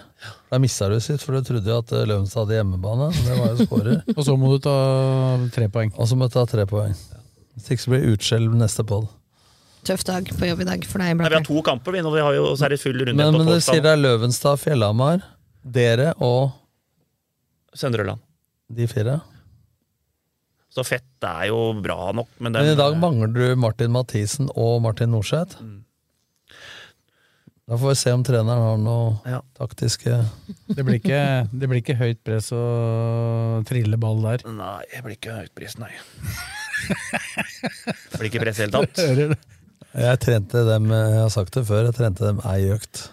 F: Der mista du sitt, for du trodde jo at eh, Løvenstad hadde hjemmebane. og Det var jo skårer.
E: Og så må du ta tre poeng.
F: Og så må du ta tre poeng. Hvis ikke så blir det utskjelv neste podd.
G: Tøff dag på jobb i dag for deg,
D: Nei, vi har
G: Blakker.
D: to kamper, vi, nå, vi har jo, og så er det full runde
F: Men,
D: på
F: men det sier
D: torsdag.
F: det er Løvenstad, Fjellhamar, dere og
D: Søndreland.
F: de fire.
D: Så fett er jo bra nok, men, den,
F: Men i dag mangler du Martin Mathisen og Martin Norseth. Da får vi se om treneren har noe
D: Ja.
F: taktiske
E: Det blir ikke, det blir ikke høyt press og trille ball der.
D: Nei, jeg blir ikke høytpris, nei. Jeg blir ikke press i det hele tatt.
E: Hører du?
F: Jeg trente dem, jeg har sagt det før, jeg trente dem ei økt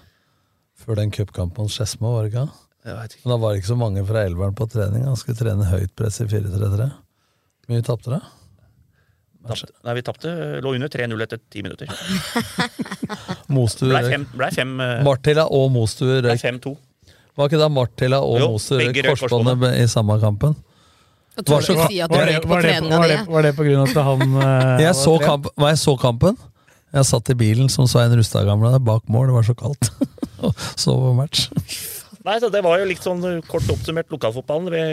F: før den cupkampen hos Skedsmo, var det ikke?
D: Jeg vet ikke.
F: Men da var det ikke så mange fra Elveren på trening. Han skulle trene høyt press i 4-3-3. Hvor mye tapte dere?
D: Tapte- Nei, vi tapte. Lå under 3-0 etter ti minutter.
F: Mostu
D: Blei fem- blei fem, eh,
F: Martilla og Mostu
D: blei
F: røyk
D: 5-2.
F: Var ikke da Martilla og
D: Jo,
F: Moser
D: begge røk
F: korsbåndet i samme kampen?
G: Og tør du ikke si at du
E: Var det,
G: røyk på
E: var, det,
G: treninga
E: var,
G: di?
E: det, var det på grunn av at han eh,
F: Jeg så,
E: var tre-
F: kamp, hva, jeg så kampen. Jeg satt i bilen som Svein Rustad gamle der bak mål, det var så kaldt. Og så på match.
D: Nei, så det var jo litt sånn kort oppsummert lokalfotballen. Vi,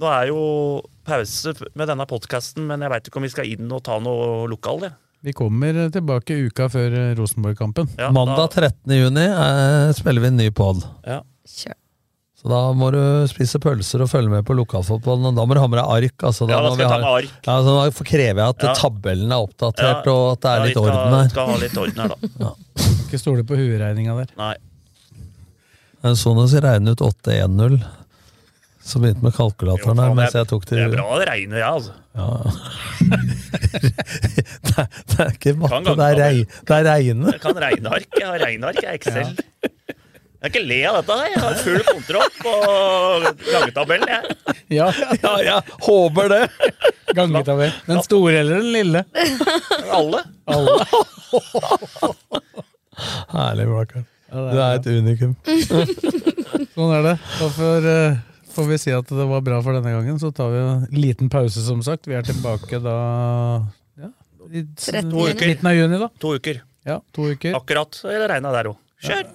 D: nå er jo pause med denne podkasten, men jeg veit ikke om vi skal inn og ta noe lokal, det.
E: Vi kommer tilbake uka før eh, Rosenborg-kampen.
D: Ja,
F: Mandag 13. juni eh, spiller vi en ny pod.
D: Da, ja.
G: Kjør.
F: Så da må du spise pølser og følge med på lokalfotballen. Og da må du ha med deg ark. Altså,
D: ja, da
F: må
D: skal
F: vi
D: jeg ta
F: ha-
D: med ark.
F: Ja, så da krever jeg at
D: Ja.
F: tabellen er oppdatert,
D: Ja.
F: og at det er
D: Ja,
F: litt
D: vi skal,
F: orden her.
D: Skal ha litt orden her, da.
E: Ikke stole på hueregninga der.
D: Nei.
F: Sonos regnet ut 8-1-0. Så begynte med kalkulatoren her,
D: faen, det
F: mens
D: er-
F: jeg tok
D: Det
F: til
D: er bra det regner, jeg, altså.
F: det, er, det er ikke matte,
D: Kan gange
F: det er, rei, det er reine.
D: Jeg kan regneark. Jeg har regneark, jeg er Excel. Jeg kan ikke le av dette her. Jeg har full kontroll på gangetabellen, jeg.
E: Ja,
F: Ja, jeg håper det.
E: ganget av det. Den store eller den lille?
D: Alle.
F: Herlig, Blakkaren.
E: Ja,
F: Du
E: det
F: er
E: er
F: et unikum.
E: bra. Sånn er det. Da får, eh, får vi si at det var bra for denne gangen. Så tar vi en liten pause, som sagt. Vi er tilbake da ja, i s-
D: Trettende To juni. uker.
E: midten av juni, da.
D: To uker.
E: Ja, to uker.
D: Akkurat. Eller regna der òg. Kjør!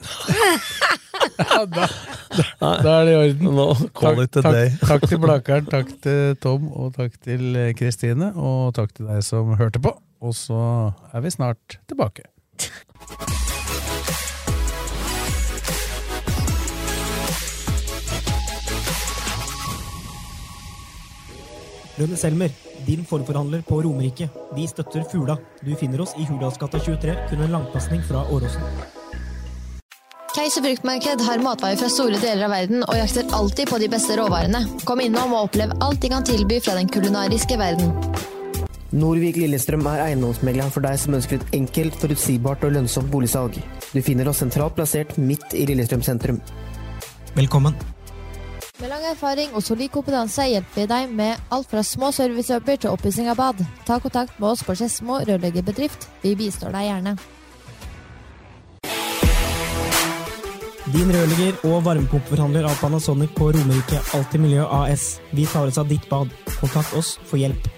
E: Da er det i orden.
F: call it a
E: takk,
F: day.
E: takk til Blakkaren, takk til Tom, og takk til eh, Kristine. Og takk til deg som hørte på. Og så er vi snart tilbake.
B: Rønne Selmer, din forforhandler på Romerike. Vi støtter Fula. Du finner oss i Hurdalsgata 23, kun en langpasning fra Åråsen.
C: Keiser fruktmarked har matvarer fra store deler av verden og jakter alltid på de beste råvarene. Kom innom og opplev alt de kan tilby fra den kulinariske verden.
A: Norvik Lillestrøm er eiendomsmegleren for deg som ønsker et enkelt, forutsigbart og lønnsomt boligsalg. Du finner oss sentralt plassert midt i Lillestrøm sentrum.
B: Velkommen.
C: Med lang erfaring og solid kompetanse hjelper vi deg med alt fra små servicejobber til oppussing av bad. Ta kontakt med oss på Skedsmo rørleggerbedrift. Vi bistår deg gjerne.
B: Din rørlegger og varmepumpeforhandler av Panasonic på Romerike Alltid Miljø AS. Vi tar oss av ditt bad. Kontakt oss for hjelp.